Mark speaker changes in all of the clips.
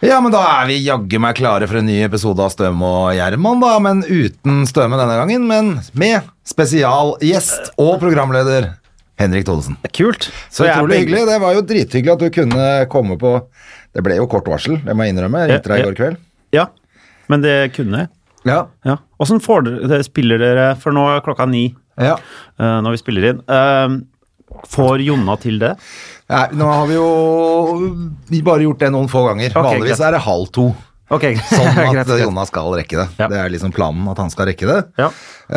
Speaker 1: Ja, men da er vi jaggu meg klare for en ny episode av Støme og Gjerman, da. Men uten Støme denne gangen, men med spesialgjest og programleder Henrik Thodesen.
Speaker 2: Kult.
Speaker 1: Så
Speaker 2: jeg er
Speaker 1: utrolig
Speaker 2: veldig-
Speaker 1: hyggelig. Det var jo drithyggelig at du kunne komme på Det ble jo kort varsel, det må jeg innrømme. Jeg ringte deg i
Speaker 2: Ja, ja.
Speaker 1: går kveld.
Speaker 2: Ja, men det kunne jeg.
Speaker 1: Ja.
Speaker 2: Ja. Åssen får dere- dere spiller dere For nå er klokka ni
Speaker 1: ja.
Speaker 2: eh, når vi spiller inn. Eh, får Jonna til det?
Speaker 1: Nei, nå har vi jo vi bare gjort det noen få ganger.
Speaker 2: Ok,
Speaker 1: Vanligvis
Speaker 2: greit.
Speaker 1: er det halv to.
Speaker 2: Ok,
Speaker 1: Sånn
Speaker 2: greit,
Speaker 1: at
Speaker 2: greit.
Speaker 1: Jonas skal rekke det.
Speaker 2: Ja.
Speaker 1: Det er liksom planen at han skal rekke det.
Speaker 2: Ja.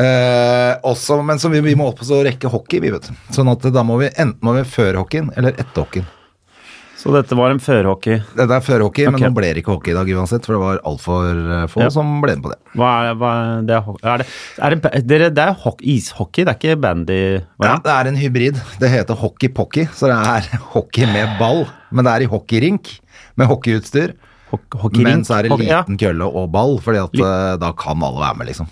Speaker 1: Eh, også, men så vi, vi må opp og så rekke hockey, vi, vet du. Sånn at da må vi enten må vi før hockeyen eller etter hockeyen.
Speaker 2: Så dette var en førhockey.
Speaker 1: Dette er før hockey,
Speaker 2: Ok.
Speaker 1: men nå ble det ikke hockey i dag uansett, for det var altfor eh, få
Speaker 2: Ja.
Speaker 1: som ble med på det.
Speaker 2: Hva er, hva er, det, er ho- er det, er det, ba- dere, det er hock, ishockey, det er ikke bandy? hva
Speaker 1: Ja,
Speaker 2: er det?
Speaker 1: det er en hybrid. Det heter hockey-pocky, så det er hockey med ball. Men det er i hockeyrink med hockeyutstyr.
Speaker 2: Hock- hockeyrink?
Speaker 1: Men så er det
Speaker 2: Hockey- ja,
Speaker 1: liten kølle og ball, fordi at eh, da kan alle være med, liksom.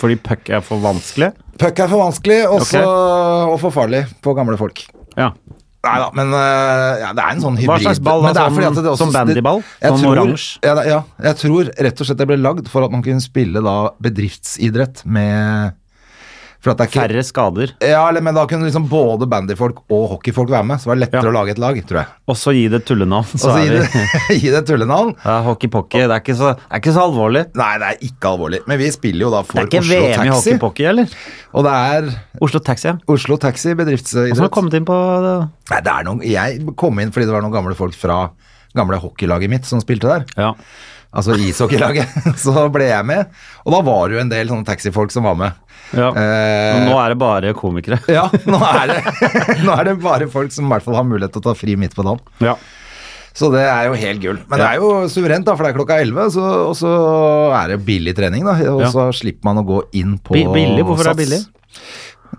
Speaker 2: fordi puck er for vanskelig?
Speaker 1: Puck er for vanskelig også, og for farlig for gamle folk.
Speaker 2: Ja.
Speaker 1: Nei da, men eh, ja, det er en sånn hybrid.
Speaker 2: Hva slags ball da,
Speaker 1: Men det er
Speaker 2: som-
Speaker 1: fordi at det
Speaker 2: som bandyball?
Speaker 1: Jeg
Speaker 2: Sånn
Speaker 1: tror-
Speaker 2: oransje?
Speaker 1: Ja, det- ja, jeg tror rett og slett det ble lagd for at man kunne spille da bedriftsidrett med for at det er ikke,
Speaker 2: Færre skader.
Speaker 1: Ja, eller, men da kunne liksom både bandyfolk og hockeyfolk være med, så det var lettere
Speaker 2: Ja.
Speaker 1: å lage et lag, tror jeg.
Speaker 2: Og så gi det tullenavn,
Speaker 1: Og
Speaker 2: så
Speaker 1: så
Speaker 2: er
Speaker 1: gi
Speaker 2: vi
Speaker 1: det, gi det et tullenavn.
Speaker 2: ja, Hockey-pocky, det, er ikke så- det er ikke så alvorlig.
Speaker 1: Nei, det er ikke alvorlig, men vi spiller jo da
Speaker 2: Det
Speaker 1: for
Speaker 2: er ikke
Speaker 1: Oslo
Speaker 2: VM i
Speaker 1: Taxi.
Speaker 2: hockey-pocky, eller?
Speaker 1: Og det er
Speaker 2: Oslo Taxi, ja.
Speaker 1: Oslo Taxi
Speaker 2: Hvordan har du
Speaker 1: bedriftsidrett.
Speaker 2: kommet inn på det?
Speaker 1: Nei, det er noen, jeg kom inn fordi det var noen gamle folk fra gamle hockeylaget mitt som spilte der.
Speaker 2: Ja.
Speaker 1: altså ishockeylaget, så ble jeg med. Og da var det jo en del sånne taxifolk som var med.
Speaker 2: ja.
Speaker 1: Eh,
Speaker 2: Men nå er det bare komikere.
Speaker 1: Ja, nå er, det, nå er det bare folk som i hvert fall har mulighet til å ta fri midt på dagen.
Speaker 2: Ja.
Speaker 1: Så det er jo helt gull. Men det er jo suverent, da, for det er klokka 11, så, og så er det billig trening, da. Og
Speaker 2: Ja.
Speaker 1: så slipper man å gå inn på
Speaker 2: Bi- billig? Hvorfor er det billig?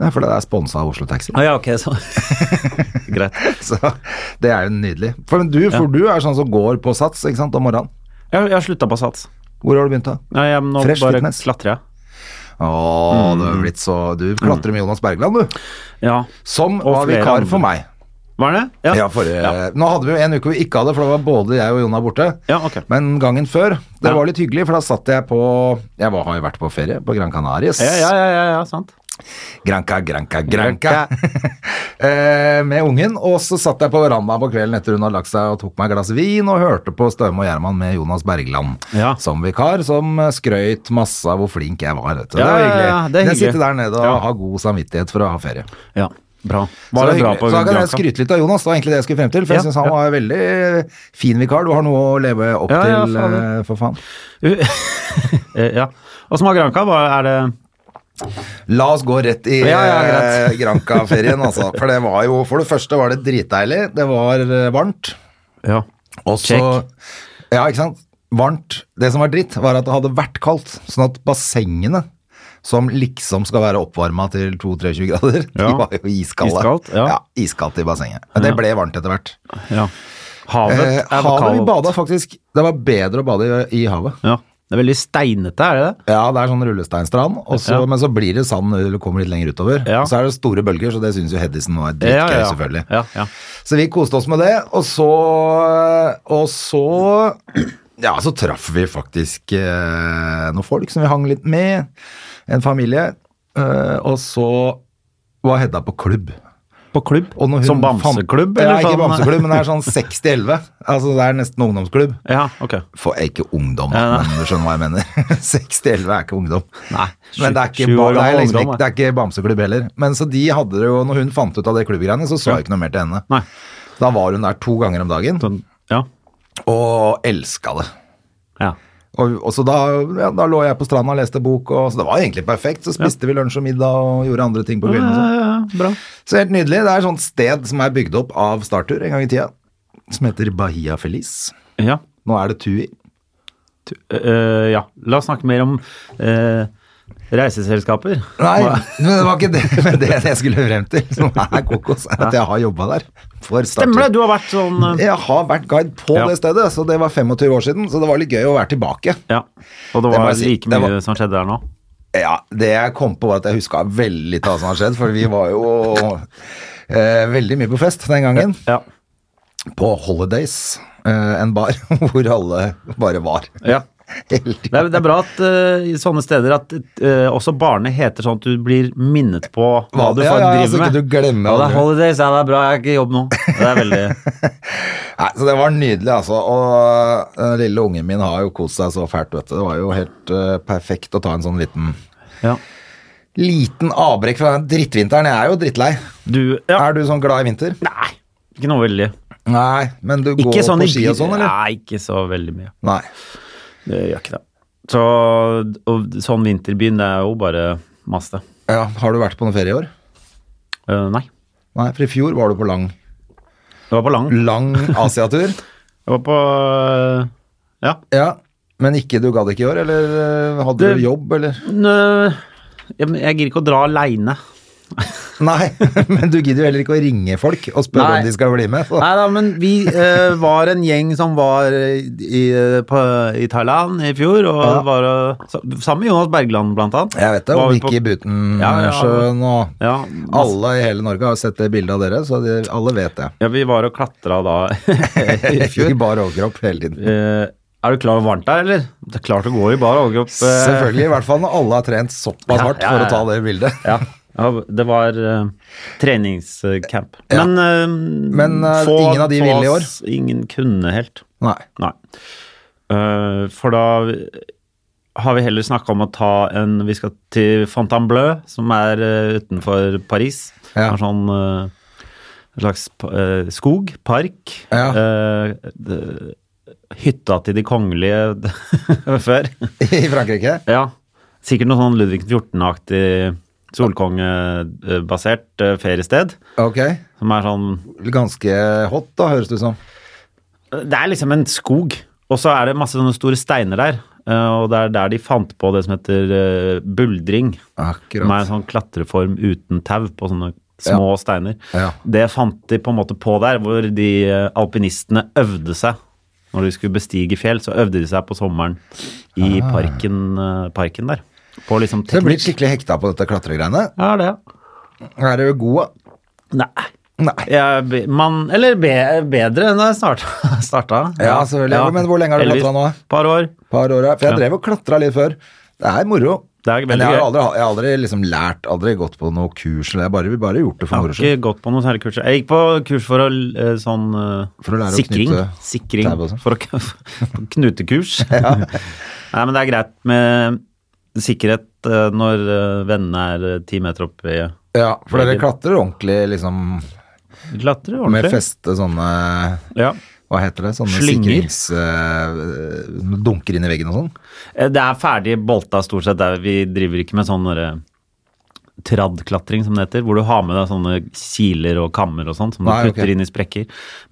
Speaker 1: Nei, fordi det er sponsa av Oslo Taxi.
Speaker 2: Ah, ja, ok, så. Greit.
Speaker 1: Så det er jo nydelig. For du, for du er sånn som går på sats ikke sant, om morgenen.
Speaker 2: Jeg, jeg har slutta på sats.
Speaker 1: Hvor har du begynt, da?
Speaker 2: Nei, jeg, nå
Speaker 1: Fresh
Speaker 2: bare
Speaker 1: fitness.
Speaker 2: klatrer jeg.
Speaker 1: Å,
Speaker 2: Mm.
Speaker 1: du er blitt så Du klatrer med Jonas Bergland, du.
Speaker 2: Ja.
Speaker 1: Som
Speaker 2: Og
Speaker 1: var
Speaker 2: flere
Speaker 1: vikar
Speaker 2: andre.
Speaker 1: for meg.
Speaker 2: Var det?
Speaker 1: Ja, forrige- Nå hadde vi jo en uke hvor vi ikke hadde, for da var både jeg og Jonna borte.
Speaker 2: Ja, ok.
Speaker 1: Men gangen før, det
Speaker 2: Ja.
Speaker 1: var litt hyggelig, for da satt jeg på Jeg var, har jo vært på ferie på Gran Canarias.
Speaker 2: Ja, ja, ja, ja, ja sant.
Speaker 1: Granca, granca, granca. Eh, Med ungen. Og så satt jeg på verandaen på kvelden etter hun hadde lagt seg og tok meg et glass vin og hørte på Støme og Gjerman med Jonas Bergland
Speaker 2: Ja.
Speaker 1: som vikar, som skrøyt masse av hvor flink jeg var. Vet du.
Speaker 2: Ja,
Speaker 1: det var
Speaker 2: ja, ja,
Speaker 1: hyggelig.
Speaker 2: det er
Speaker 1: Men Jeg
Speaker 2: hyggelig.
Speaker 1: sitter der nede og
Speaker 2: Ja.
Speaker 1: har god samvittighet for å ha ferie.
Speaker 2: Ja, bra.
Speaker 1: Så
Speaker 2: Var det
Speaker 1: det er
Speaker 2: bra
Speaker 1: hyggelig.
Speaker 2: på
Speaker 1: Så da kan jeg
Speaker 2: Granca?
Speaker 1: skryte litt av Jonas, det var egentlig det jeg skulle frem til. For jeg
Speaker 2: Ja,
Speaker 1: synes han
Speaker 2: ja.
Speaker 1: var en veldig fin vikar. Du har noe å leve opp
Speaker 2: Ja, ja,
Speaker 1: til,
Speaker 2: fader.
Speaker 1: eh, for faen.
Speaker 2: Eh, Ja. Åssen var Granca? Hva er det
Speaker 1: La oss gå rett i
Speaker 2: Ja, ja, greit.
Speaker 1: eh, Granca-ferien, altså. For det var jo For det første var det dritdeilig. Det var eh, varmt.
Speaker 2: Ja.
Speaker 1: Og så
Speaker 2: Check.
Speaker 1: Ja, ikke sant. Varmt. Det som var dritt, var at det hadde vært kaldt. Sånn at bassengene som liksom skal være oppvarma til 22-23 grader. De
Speaker 2: Ja.
Speaker 1: var jo iskalde.
Speaker 2: Iskaldt, ja.
Speaker 1: iskaldt i bassenget. Det ble varmt etter hvert.
Speaker 2: ja. Havet
Speaker 1: Eh,
Speaker 2: er
Speaker 1: havet vi
Speaker 2: kaldt.
Speaker 1: bada faktisk Det var bedre å bade i, i havet.
Speaker 2: Ja. Det er veldig steinete, er det det?
Speaker 1: Ja, det er sånn rullesteinstrand, og så-
Speaker 2: Ja.
Speaker 1: men så blir det sand når du kommer litt lenger utover.
Speaker 2: Ja.
Speaker 1: Og Så er det store bølger, så det syns jo Hedison var dritgøy,
Speaker 2: ja, ja.
Speaker 1: selvfølgelig.
Speaker 2: Ja, ja.
Speaker 1: Så vi koste oss med det, og så Og så Ja, så traff vi faktisk eh, noen folk som vi hang litt med. En familie. Eh, og så var Hedda på klubb.
Speaker 2: På klubb?
Speaker 1: Og når hun
Speaker 2: Som
Speaker 1: fant-
Speaker 2: bamseklubb?
Speaker 1: Ja,
Speaker 2: eller
Speaker 1: ikke
Speaker 2: sånn?
Speaker 1: bamseklubb, men det er sånn 60-11. Altså, det er nesten ungdomsklubb.
Speaker 2: Ja, ok.
Speaker 1: For eh, ikke ungdom,
Speaker 2: Ja,
Speaker 1: men du skjønner hva jeg mener. 6-11 er ikke ungdom.
Speaker 2: Nei,
Speaker 1: men det
Speaker 2: sju-
Speaker 1: er ikke,
Speaker 2: sju
Speaker 1: ba-
Speaker 2: år
Speaker 1: det er
Speaker 2: gammel
Speaker 1: liksom
Speaker 2: ungdom,
Speaker 1: ikke, det er ikke bamseklubb heller. Men så de hadde det jo, når hun fant ut av det klubbgreiene, så så jeg ikke noe mer til henne.
Speaker 2: Nei.
Speaker 1: Da var hun der to ganger om dagen,
Speaker 2: Sånn, ja.
Speaker 1: og elska det.
Speaker 2: ja.
Speaker 1: Og, og så da, ja, da lå jeg på stranda og leste bok, og, så det var egentlig perfekt. Så spiste vi lunsj og middag og gjorde andre ting på kvelden. og sånn.
Speaker 2: ja, ja, bra.
Speaker 1: Så helt nydelig. Det er et sånt sted som er bygd opp av Startur en gang i tida. som heter Bahia Feliz.
Speaker 2: Ja.
Speaker 1: Nå er det Tui.
Speaker 2: Tu- eh, ja. La oss snakke mer om eh, reiseselskaper.
Speaker 1: Nei, men det var ikke det, men det jeg skulle frem til, som er kokos, er at jeg har jobba der. For
Speaker 2: Stemmer det, du har vært sånn eh,
Speaker 1: Jeg har vært guide på
Speaker 2: Ja.
Speaker 1: det stedet, så det var 25 år siden. Så det var litt gøy å være tilbake.
Speaker 2: Ja. Og det
Speaker 1: Det må
Speaker 2: var
Speaker 1: jeg si,
Speaker 2: like
Speaker 1: det var-
Speaker 2: mye som skjedde der nå.
Speaker 1: Ja, det jeg kom på var at jeg huska veldig lite av hva som har skjedd, for vi var jo eh, veldig mye på fest den gangen.
Speaker 2: Ja.
Speaker 1: På Holidays, eh, en bar hvor alle bare var.
Speaker 2: ja.
Speaker 1: Hele tiden.
Speaker 2: Det er, det er bra at eh, i sånne steder at eh, også barene heter sånn at du blir minnet på hva
Speaker 1: Hva-
Speaker 2: du
Speaker 1: ja,
Speaker 2: faktisk
Speaker 1: ja, ja, så
Speaker 2: driver
Speaker 1: ikke
Speaker 2: med.
Speaker 1: du glemmer
Speaker 2: ja, det
Speaker 1: aldri.
Speaker 2: er holidays, ja, det er bra, jeg har ikke jobb nå. Det er veldig
Speaker 1: Nei, så det var nydelig, altså. Og den lille ungen min har jo kost seg så fælt, vet du. Det var jo helt eh, perfekt å ta en sånn liten
Speaker 2: Ja.
Speaker 1: Liten avbrekk fra den drittvinteren. Jeg er jo drittlei.
Speaker 2: Du ja.
Speaker 1: Er du sånn glad i vinter?
Speaker 2: Nei, ikke noe veldig.
Speaker 1: Nei, men du går
Speaker 2: Ikke sånn i
Speaker 1: på ski
Speaker 2: bil-
Speaker 1: og sånn, eller?
Speaker 2: Nei, ikke så veldig mye.
Speaker 1: Nei.
Speaker 2: Det gjør ikke det. Så og, sånn vinterbyen, det er jo bare masse.
Speaker 1: Ja, har du vært på noen ferie i år?
Speaker 2: Eh, nei.
Speaker 1: Nei, for i fjor var du på lang,
Speaker 2: Jeg var på Lang.
Speaker 1: lang Asiatur.
Speaker 2: Jeg var på eh, Ja.
Speaker 1: Ja, men ikke, du gadd ikke i år, eller eh, hadde
Speaker 2: Det-
Speaker 1: du jobb, eller?
Speaker 2: Nå- ja, men eh, jeg gir ikke å dra aleine.
Speaker 1: Nei, men du gidder jo heller ikke å ringe folk og spørre
Speaker 2: Nei.
Speaker 1: om de skal bli med. Så.
Speaker 2: Nei da, men vi eh, var en gjeng som var eh, i, på, i Thailand i fjor, og
Speaker 1: Ja.
Speaker 2: var eh, sa- sammen med Jonas Bergland, blant annet.
Speaker 1: Jeg vet det,
Speaker 2: Var
Speaker 1: og
Speaker 2: vi på-
Speaker 1: Vicky Butensjøen
Speaker 2: Ja, ja.
Speaker 1: og
Speaker 2: Ja, masse-
Speaker 1: Alle i hele Norge har sett det bildet av dere, så de, alle vet det.
Speaker 2: ja, vi var og klatra da i
Speaker 1: Ikke
Speaker 2: fjor.
Speaker 1: bare overkropp hele tiden.
Speaker 2: Eh, er du klar over varmt der, eller? Det er klart det går jo bare overkropp. eh,
Speaker 1: Selvfølgelig, i hvert fall når alle har trent såpass
Speaker 2: Ja,
Speaker 1: hardt
Speaker 2: ja,
Speaker 1: for
Speaker 2: ja.
Speaker 1: å ta det bildet.
Speaker 2: Ja, ja det var eh, treningscamp.
Speaker 1: Ja.
Speaker 2: Men, eh,
Speaker 1: Men, eh, ingen av de ville i år?
Speaker 2: s- Ingen kunne helt.
Speaker 1: Nei.
Speaker 2: Nei. Eh, for da har vi heller snakka om å ta en Vi skal til Fontainebleau, som er eh, utenfor Paris.
Speaker 1: Ja.
Speaker 2: Det er sånn eh, en slags eh, skog, park.
Speaker 1: Ja.
Speaker 2: Eh, det- hytta til de kongelige før.
Speaker 1: I Frankrike?
Speaker 2: Ja. Sikkert noe sånn Ludvig 14-aktig solkongebasert eh, feriested.
Speaker 1: Ok.
Speaker 2: Som er sånn
Speaker 1: Ganske hot, da, høres det ut som.
Speaker 2: Det er liksom en skog. Og så er det masse sånne store steiner der. eh, Og det er der de fant på det som heter eh, buldring. Som er en
Speaker 1: Akkurat.
Speaker 2: sånn klatreform uten tau på sånne små steiner.
Speaker 1: Ja.
Speaker 2: Det fant de på en måte på der, hvor de eh, alpinistene øvde seg. Når de skulle bestige fjell, så øvde de seg på sommeren i parken, eh, parken der. På liksom
Speaker 1: Så jeg Ah. blir
Speaker 2: teknikk.
Speaker 1: skikkelig hekta på dette klatregreiene.
Speaker 2: Ja, det.
Speaker 1: Er du god?
Speaker 2: Nei.
Speaker 1: Nei.
Speaker 2: Jeg, be- man, eller be, bedre enn da jeg starta. starta.
Speaker 1: Ja, selvfølgelig. Men hvor lenge har du
Speaker 2: Elvis,
Speaker 1: klatret nå, da?
Speaker 2: Par år.
Speaker 1: par år, ja. For jeg
Speaker 2: Ja.
Speaker 1: drev og klatra litt før. Det er moro.
Speaker 2: Det er veldig
Speaker 1: Men jeg har
Speaker 2: gøy.
Speaker 1: aldri, jeg har aldri liksom lært, aldri gått på noe kurs, eller jeg bare, vi bare gjort det
Speaker 2: Jeg
Speaker 1: for
Speaker 2: har
Speaker 1: moro skyld.
Speaker 2: ikke gått på noen særlig kurs. Jeg gikk på kurs for å eh, sånn eh,
Speaker 1: For å lære å
Speaker 2: sikring.
Speaker 1: knyte
Speaker 2: sikring.
Speaker 1: tau og sånn.
Speaker 2: For å k- knutekurs. Nei, men det er greit med sikkerhet eh, når eh, vennene er eh, ti meter opp i
Speaker 1: Ja, for dere
Speaker 2: Veldig.
Speaker 1: klatrer ordentlig liksom
Speaker 2: Vi klatrer
Speaker 1: med
Speaker 2: ordentlig.
Speaker 1: feste sånne
Speaker 2: Ja.
Speaker 1: hva heter det? Sånne
Speaker 2: Slynger.
Speaker 1: sikrings... eh, dunker inn i veggen og sånn.
Speaker 2: Eh, Det er ferdig bolta stort sett. Der. Vi driver ikke med sånn derre Traddklatring, som det heter, hvor du har med deg sånne kiler og kammer og sånn som du
Speaker 1: Nei, ok.
Speaker 2: putter inn i sprekker.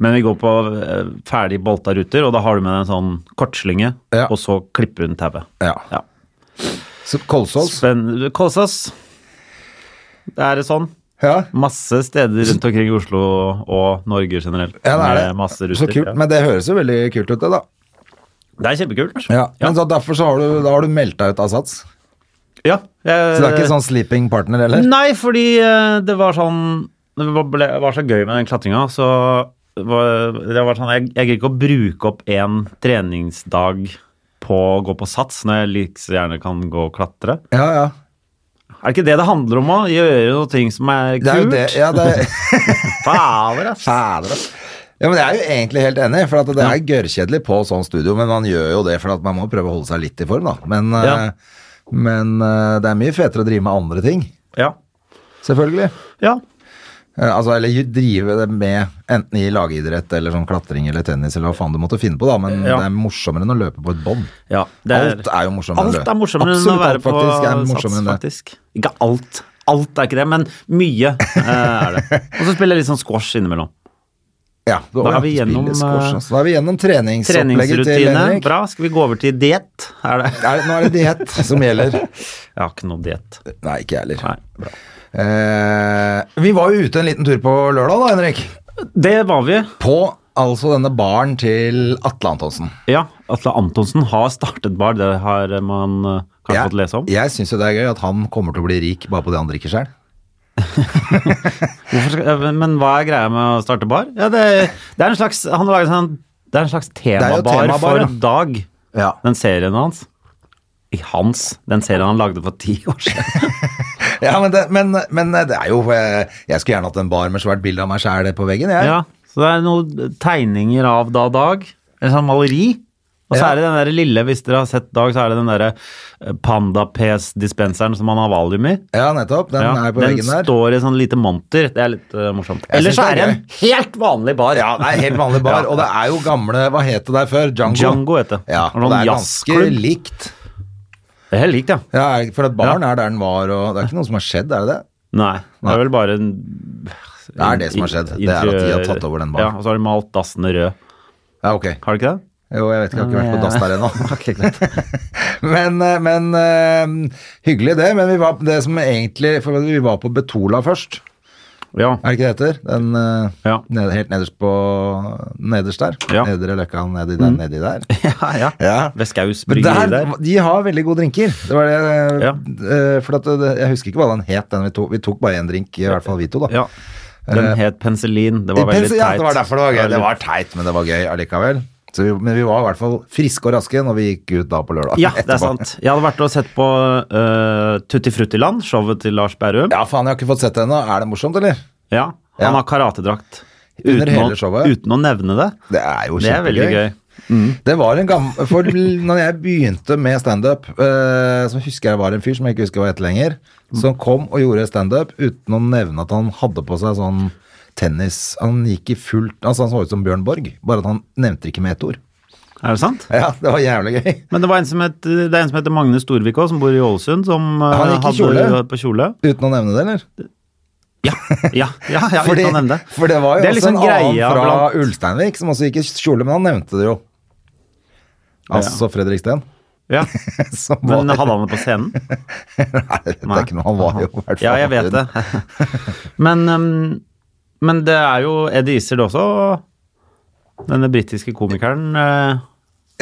Speaker 2: Men vi går på eh, ferdig bolta ruter, og da har du med deg en sånn kortslynge,
Speaker 1: Ja.
Speaker 2: og så klipper hun tauet.
Speaker 1: Ja.
Speaker 2: Ja.
Speaker 1: Så Kolsås.
Speaker 2: Spenn- Kolsås. Det er sånn.
Speaker 1: Ja.
Speaker 2: Masse steder rundt omkring i Oslo og Norge generelt.
Speaker 1: ja, det er
Speaker 2: med
Speaker 1: det.
Speaker 2: Masse ruter.
Speaker 1: Så kult.
Speaker 2: ja.
Speaker 1: Men det høres jo veldig kult ut, det, da.
Speaker 2: Det er kjempekult.
Speaker 1: Ja.
Speaker 2: ja.
Speaker 1: Men så derfor så har du, da har du meldt deg ut av Sats.
Speaker 2: Ja, jeg-
Speaker 1: Så det er ikke sånn sleeping partner heller?
Speaker 2: Eh, Nei, fordi eh, det var sånn Det var, ble, var så gøy med den klatringa, så var, det var sånn, jeg, jeg gidder ikke å bruke opp én treningsdag på å gå på sats når jeg like så gjerne kan gå og klatre.
Speaker 1: Ja, ja.
Speaker 2: Er det ikke det det handler om òg? Gjøre noe ting som er kult?
Speaker 1: Det er jo det. Ja, det er
Speaker 2: Fader, ass.
Speaker 1: Fader, ass. Ja, men Jeg er jo egentlig helt enig, for at det er gørrkjedelig på sånn studio. Men man gjør jo det for at man må prøve å holde seg litt i form, da. Men,
Speaker 2: Ja.
Speaker 1: eh, men eh, det er mye fetere å drive med andre ting,
Speaker 2: Ja.
Speaker 1: selvfølgelig.
Speaker 2: ja.
Speaker 1: Eh, Altså, eller ju- drive det med enten i lagidrett eller sånn klatring eller tennis eller hva faen du måtte finne på, da. Men
Speaker 2: Ja.
Speaker 1: det er morsommere enn å løpe på et bånd.
Speaker 2: ja det
Speaker 1: Alt er jo morsommere enn
Speaker 2: Alt
Speaker 1: det.
Speaker 2: er morsommere enn å
Speaker 1: Absolutt
Speaker 2: være
Speaker 1: alt
Speaker 2: på
Speaker 1: faktisk er morsommere
Speaker 2: sats,
Speaker 1: enn det.
Speaker 2: faktisk. Ikke alt. Alt er ikke det, men mye eh, er det. Og så spiller jeg litt sånn squash innimellom.
Speaker 1: Ja, det var
Speaker 2: Da er vi
Speaker 1: ikke
Speaker 2: gjennom,
Speaker 1: spilleskors,
Speaker 2: eh,
Speaker 1: altså. da er vi gjennom treningsopplegget til
Speaker 2: Treningsrutine,
Speaker 1: Henrik.
Speaker 2: bra. Skal vi gå over til diett? Er det?
Speaker 1: Nei, nå er det diett som gjelder.
Speaker 2: Jeg har ikke noe diett.
Speaker 1: Nei, ikke jeg heller.
Speaker 2: Nei, bra.
Speaker 1: Eh, vi var jo ute en liten tur på lørdag da, Henrik.
Speaker 2: Det var vi.
Speaker 1: På altså denne baren til Atle Antonsen.
Speaker 2: Ja, Atle Antonsen har startet bar, det har man eh, kanskje fått lese om.
Speaker 1: Jeg, jeg syns jo det er gøy at han kommer til å bli rik bare på det han drikker selv.
Speaker 2: Hvorfor Skal, ja, men- men hva er greia med å starte bar? Ja, det, det er en slags, han har laget sånn, det er en slags
Speaker 1: jo
Speaker 2: temabar,
Speaker 1: temabar,
Speaker 2: for
Speaker 1: ja.
Speaker 2: Dag,
Speaker 1: Ja.
Speaker 2: den serien hans. I hans, den serien han lagde for ti år siden.
Speaker 1: men, det, men, men det er jo eh, Jeg skulle gjerne hatt en bar med svært bilde av meg sjæl på veggen, jeg.
Speaker 2: Ja, så det er noen tegninger av da Dag, en sånn maleri. Og så
Speaker 1: Ja.
Speaker 2: er det den der lille, hvis dere har sett Dag, så er det den der eh, Panda PS-dispenseren som han har valium i.
Speaker 1: Ja, nettopp. Den
Speaker 2: Ja,
Speaker 1: er på
Speaker 2: den
Speaker 1: veggen der.
Speaker 2: står i sånn lite monter. Det er litt eh, morsomt.
Speaker 1: Jeg
Speaker 2: Ellers
Speaker 1: synes
Speaker 2: er
Speaker 1: det
Speaker 2: det
Speaker 1: er
Speaker 2: en helt vanlig bar.
Speaker 1: Ja, det er helt vanlig bar,
Speaker 2: Ja.
Speaker 1: og det er jo gamle Hva het det der før? Django?
Speaker 2: Django heter det.
Speaker 1: Ja,
Speaker 2: Og
Speaker 1: og det
Speaker 2: noen
Speaker 1: er ganske
Speaker 2: jazzklubb.
Speaker 1: likt.
Speaker 2: Det er helt likt, ja.
Speaker 1: Ja, for at baren er der den var, og det er ikke noe som har skjedd, er det det?
Speaker 2: Nei, det
Speaker 1: Nei.
Speaker 2: er vel bare en
Speaker 1: Det er det som har skjedd. Det er at de har tatt over den baren.
Speaker 2: Ja, og så har de malt dassene rød.
Speaker 1: Ja, ok.
Speaker 2: Har de ikke det?
Speaker 1: Jo, jeg vet ikke, jeg har ikke vært på dass der ennå.
Speaker 2: Ok, greit.
Speaker 1: Men, eh, men eh, hyggelig det, men vi var, det som egentlig, for vi var på Betola først,
Speaker 2: ja,
Speaker 1: er det ikke det heter? Den eh,
Speaker 2: Ja.
Speaker 1: ned, helt nederst på, nederst der,
Speaker 2: Ja. Mm.
Speaker 1: nedre løkka nedi der, nedi der.
Speaker 2: ja, ja.
Speaker 1: Ja.
Speaker 2: Ved Skaus
Speaker 1: Men
Speaker 2: bryggeri
Speaker 1: der,
Speaker 2: der.
Speaker 1: de har veldig gode drinker, det var det, eh, eh, for at, det- jeg husker ikke hva den het, den vi tok, vi tok bare en drink, i hvert fall vi to da.
Speaker 2: Ja. Den
Speaker 1: Eh,
Speaker 2: het Penicillin. Det var
Speaker 1: Pens-
Speaker 2: veldig teit.
Speaker 1: Ja, det var derfor det var gøy, det
Speaker 2: litt-
Speaker 1: var teit, men det var gøy allikevel. Så vi, men vi var i hvert fall friske og raske når vi gikk ut da på lørdag.
Speaker 2: Ja, det
Speaker 1: etterpå.
Speaker 2: er sant. Jeg hadde vært og sett på eh, Tutti Fruttiland, showet til Lars Berrum.
Speaker 1: Ja, faen, jeg har ikke fått sett det ennå. Er det morsomt, eller?
Speaker 2: Ja,
Speaker 1: Ja.
Speaker 2: han har karatedrakt.
Speaker 1: Under
Speaker 2: Uten
Speaker 1: hele
Speaker 2: å-
Speaker 1: showet.
Speaker 2: Uten å nevne det.
Speaker 1: Det er jo
Speaker 2: Det er veldig gøy.
Speaker 1: Det var en gam- For når jeg begynte med standup, eh, så husker jeg det var en fyr som jeg ikke husker hva het lenger, som kom og gjorde standup uten å nevne at han hadde på seg sånn tennis Han gikk i fullt Altså, han så ut som Bjørn Borg, bare at han nevnte ikke med et ord.
Speaker 2: Er det sant?
Speaker 1: Ja, det var jævlig gøy.
Speaker 2: Men det, var en som het, det er en som heter Magne Storvik også, som bor i Ålesund, som eh,
Speaker 1: Han gikk i
Speaker 2: hadde
Speaker 1: kjole.
Speaker 2: på kjole.
Speaker 1: Uten å nevne det, eller?
Speaker 2: Ja, ja, ja, ja
Speaker 1: Fordi-
Speaker 2: uten å nevne det.
Speaker 1: For det var jo
Speaker 2: Det er
Speaker 1: også
Speaker 2: liksom
Speaker 1: en annen
Speaker 2: greia
Speaker 1: fra
Speaker 2: blant-
Speaker 1: Ulsteinvik som også gikk i kjole, men han nevnte det jo. Altså Fredrik Steen.
Speaker 2: Ja.
Speaker 1: som
Speaker 2: Men
Speaker 1: var-
Speaker 2: hadde han det på scenen?
Speaker 1: Nei, det er ikke noe. Han var jo i hvert fall
Speaker 2: Ja, jeg vet det. Men, ehm, men det er jo Eddie Izzard også, denne britiske komikeren. eh,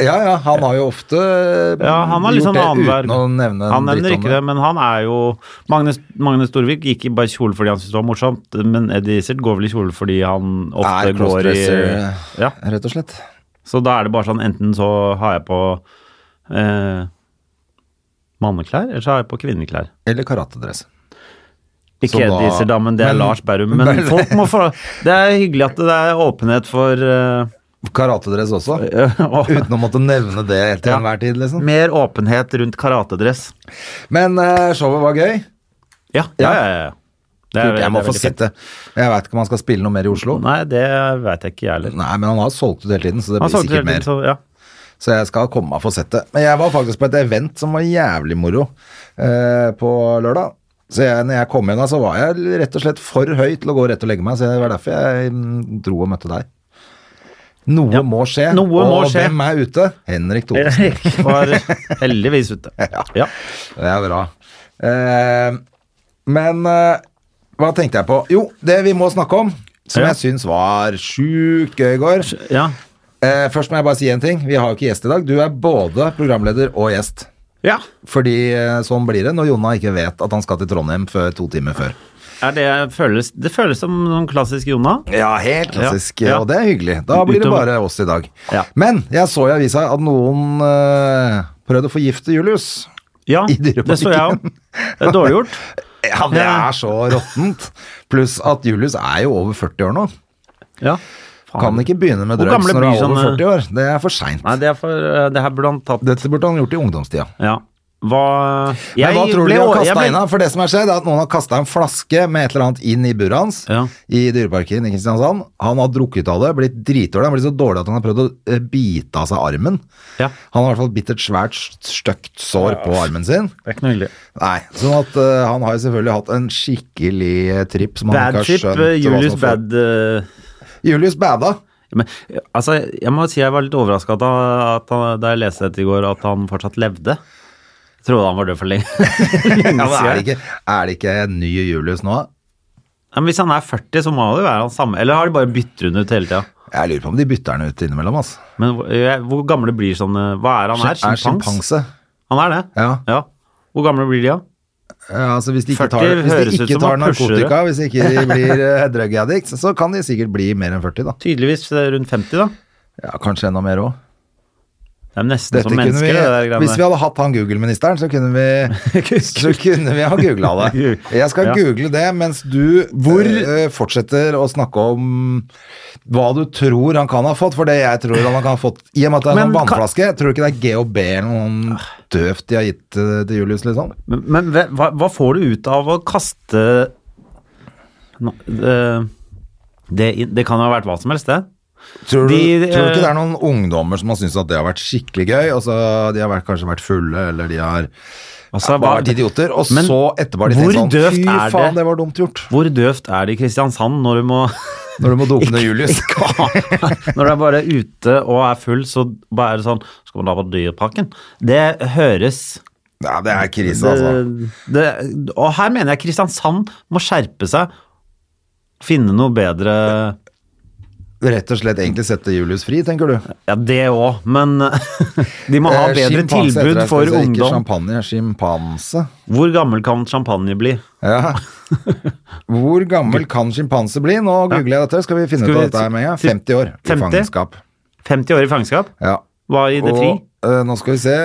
Speaker 1: Ja, ja, han har jo ofte eh,
Speaker 2: Ja, han har litt sånn
Speaker 1: gjort det
Speaker 2: annenhver
Speaker 1: uten å nevne en
Speaker 2: Han nevner
Speaker 1: dritt om
Speaker 2: ikke det, men han er jo Magne, Magne Storvik gikk i bare kjole fordi han syntes det var morsomt, men Eddie Izzard går vel i kjole fordi han ofte
Speaker 1: Er
Speaker 2: går i
Speaker 1: crossdresser.
Speaker 2: Ja.
Speaker 1: Rett og slett.
Speaker 2: Så da er det bare sånn, enten så har jeg på eh, manneklær, eller så har jeg på kvinneklær.
Speaker 1: Eller karatedress.
Speaker 2: Ikke
Speaker 1: Som da-
Speaker 2: Eddiser, da, men det er
Speaker 1: Men-
Speaker 2: Lars Berrum. Men folk må få Det er hyggelig at det er åpenhet for eh,
Speaker 1: Karatedress også.
Speaker 2: og-
Speaker 1: Uten å måtte nevne det til
Speaker 2: Ja.
Speaker 1: enhver tid, liksom.
Speaker 2: Mer åpenhet rundt karatedress.
Speaker 1: Men eh, showet var gøy.
Speaker 2: Ja, ja, ja. ja. Det er-
Speaker 1: Kult, jeg
Speaker 2: det
Speaker 1: må
Speaker 2: er
Speaker 1: få
Speaker 2: veldig fett.
Speaker 1: sitte. Jeg veit ikke om han skal spille noe mer i Oslo. Nei,
Speaker 2: Nei, det veit jeg ikke, jeg heller.
Speaker 1: men han har solgt ut hele tiden, så det
Speaker 2: Han
Speaker 1: blir
Speaker 2: solgte
Speaker 1: sikkert
Speaker 2: hele tiden,
Speaker 1: mer.
Speaker 2: så ja.
Speaker 1: Så jeg skal komme meg og få sett det. Men jeg var faktisk på et event som var jævlig moro eh, på lørdag. Så jeg, når jeg kom hjem da, så var jeg rett og slett for høy til å gå rett og legge meg. Så det var derfor jeg mm, dro og møtte deg. Noe
Speaker 2: Ja.
Speaker 1: må skje.
Speaker 2: Noe
Speaker 1: og
Speaker 2: må skje.
Speaker 1: hvem er ute? Henrik Thoresen.
Speaker 2: Erik var heldigvis ute. Ja.
Speaker 1: Det er bra. Eh, men eh, hva tenkte jeg på? Jo, det vi må snakke om, som
Speaker 2: Ja.
Speaker 1: jeg syns var sjukt gøy i går.
Speaker 2: Ja.
Speaker 1: Eh, først må jeg bare si én ting. Vi har jo ikke gjest i dag. Du er både programleder og gjest.
Speaker 2: ja.
Speaker 1: Fordi eh, sånn blir det når Jonna ikke vet at han skal til Trondheim før, to timer før.
Speaker 2: Er det, føles, det føles som noen klassisk Jonna.
Speaker 1: Ja, helt klassisk, eh,
Speaker 2: Ja, ja.
Speaker 1: og det er hyggelig. Da blir det
Speaker 2: Utover-
Speaker 1: bare oss i dag.
Speaker 2: Ja.
Speaker 1: Men jeg så i avisa at noen eh, prøvde å forgifte Julius.
Speaker 2: Ja,
Speaker 1: I dyreparken.
Speaker 2: det så jeg òg. Det er dårlig gjort.
Speaker 1: Ja, det
Speaker 2: Ja.
Speaker 1: er så råttent. Pluss at Julius er jo over 40 år nå.
Speaker 2: Ja.
Speaker 1: Kan ikke begynne med
Speaker 2: Hvor
Speaker 1: drugs
Speaker 2: gamle
Speaker 1: når du
Speaker 2: blir
Speaker 1: er over
Speaker 2: sånne-
Speaker 1: 40 år. Det er for seint.
Speaker 2: Nei, det, er for, eh, det her burde han tatt
Speaker 1: Dette burde han gjort i ungdomstida.
Speaker 2: Ja. Hva
Speaker 1: Men hva tror du de har
Speaker 2: å- jeg
Speaker 1: kasta
Speaker 2: ble-
Speaker 1: inn? da? For det som har skjedd, er at noen har kasta en flaske med et eller annet inn i buret hans
Speaker 2: Ja.
Speaker 1: i Dyreparken i Kristiansand. Han har drukket av det, blitt dritdårlig. Han har blitt så dårlig at han har prøvd å eh, bite av seg armen.
Speaker 2: Ja.
Speaker 1: Han har i hvert fall bitt et svært stygt sår på armen sin.
Speaker 2: Det er ikke noe hyggelig.
Speaker 1: Nei, sånn at eh, han har jo selvfølgelig hatt en skikkelig eh, tripp som han
Speaker 2: Bad
Speaker 1: ikke har
Speaker 2: trip,
Speaker 1: skjønt
Speaker 2: eh,
Speaker 1: hva
Speaker 2: Julius
Speaker 1: som har fått-
Speaker 2: bad eh,
Speaker 1: Julius bada.
Speaker 2: Men, altså, jeg må si jeg var litt overraska da, at han- da jeg leste dette i går, at han fortsatt levde. Jeg trodde han var død for lenge, lenge
Speaker 1: Ja, men er,
Speaker 2: siden.
Speaker 1: det ikke, er det ikke en ny Julius nå?
Speaker 2: Ja, Men hvis han er 40, så må det jo være han samme. Eller har de bare bytter hun ut hele tida?
Speaker 1: Jeg lurer på om de bytter han ut innimellom. Altså.
Speaker 2: Men hvor, eh, jeg- hvor gamle blir sånne Hva er han her?
Speaker 1: er
Speaker 2: Sjimpans?
Speaker 1: sjimpanse.
Speaker 2: Han er det?
Speaker 1: Ja.
Speaker 2: Hvor gamle blir de, da?
Speaker 1: Ja, altså hvis de ikke
Speaker 2: 40
Speaker 1: tar, hvis
Speaker 2: høres
Speaker 1: de
Speaker 2: ut
Speaker 1: ikke
Speaker 2: som
Speaker 1: tar
Speaker 2: han pusher det.
Speaker 1: narkotika, hvis ikke de blir eh, drug addicts, så kan de sikkert bli mer enn 40, da.
Speaker 2: Tydeligvis eh, rundt 50, da.
Speaker 1: Ja, Kanskje enda mer òg.
Speaker 2: Det er nesten
Speaker 1: Dette
Speaker 2: som
Speaker 1: kunne
Speaker 2: mennesker,
Speaker 1: vi,
Speaker 2: det der greiene.
Speaker 1: hvis vi hadde hatt han Google-ministeren, så kunne vi, så kunne vi ha googla det. Jeg skal
Speaker 2: Ja.
Speaker 1: google det mens du Hvor? fortsetter å snakke om hva du tror han kan ha fått, for det jeg tror han kan ha fått I og med at det er en sånn
Speaker 2: Men kan- Ah.
Speaker 1: vannflaske, tror du ikke det er GHB eller noe døvt de har gitt eh, til Julius, liksom?
Speaker 2: Men, men hva, hva får du ut av å kaste Nå, eh, det, det kan jo ha vært hva som helst, det.
Speaker 1: Tror du,
Speaker 2: De-
Speaker 1: tror du ikke
Speaker 2: eh,
Speaker 1: det er noen ungdommer som har syntes at det har vært skikkelig gøy, og så de har vært, kanskje vært fulle, eller de har
Speaker 2: Altså,
Speaker 1: bare
Speaker 2: hva-
Speaker 1: vært idioter, og
Speaker 2: Men
Speaker 1: så etterpå har de
Speaker 2: hvor
Speaker 1: tenkt sånn
Speaker 2: døvt
Speaker 1: Fy
Speaker 2: er det?
Speaker 1: faen, det var dumt gjort.
Speaker 2: Hvor døvt er det i Kristiansand når du må
Speaker 1: Når du må dope ned Julius.
Speaker 2: Når du er bare ute og er full, så bare er det sånn Skal man da på Dyreparken? Det høres
Speaker 1: Ja, det er krise,
Speaker 2: det,
Speaker 1: altså.
Speaker 2: det, Og her mener jeg Kristiansand må skjerpe seg. Finne noe bedre
Speaker 1: Rett og slett egentlig sette Julius fri, tenker du.
Speaker 2: Ja, det òg, men de må ha
Speaker 1: Eh,
Speaker 2: bedre
Speaker 1: sjimpanse heter
Speaker 2: tilbud
Speaker 1: det, skal
Speaker 2: for
Speaker 1: vi si. Ikke
Speaker 2: ungdom.
Speaker 1: champagne, sjimpanse.
Speaker 2: Hvor gammel kan champagne bli?
Speaker 1: Ja. Hvor gammel kan sjimpanse bli? Nå googler jeg dette, skal vi finne
Speaker 2: Skal
Speaker 1: ut av
Speaker 2: vi-
Speaker 1: dette her med. ja.
Speaker 2: til-
Speaker 1: 50 år i
Speaker 2: 50?
Speaker 1: fangenskap.
Speaker 2: 50 år i fangenskap?
Speaker 1: Ja.
Speaker 2: Hva i det fri?
Speaker 1: Og eh, nå skal vi se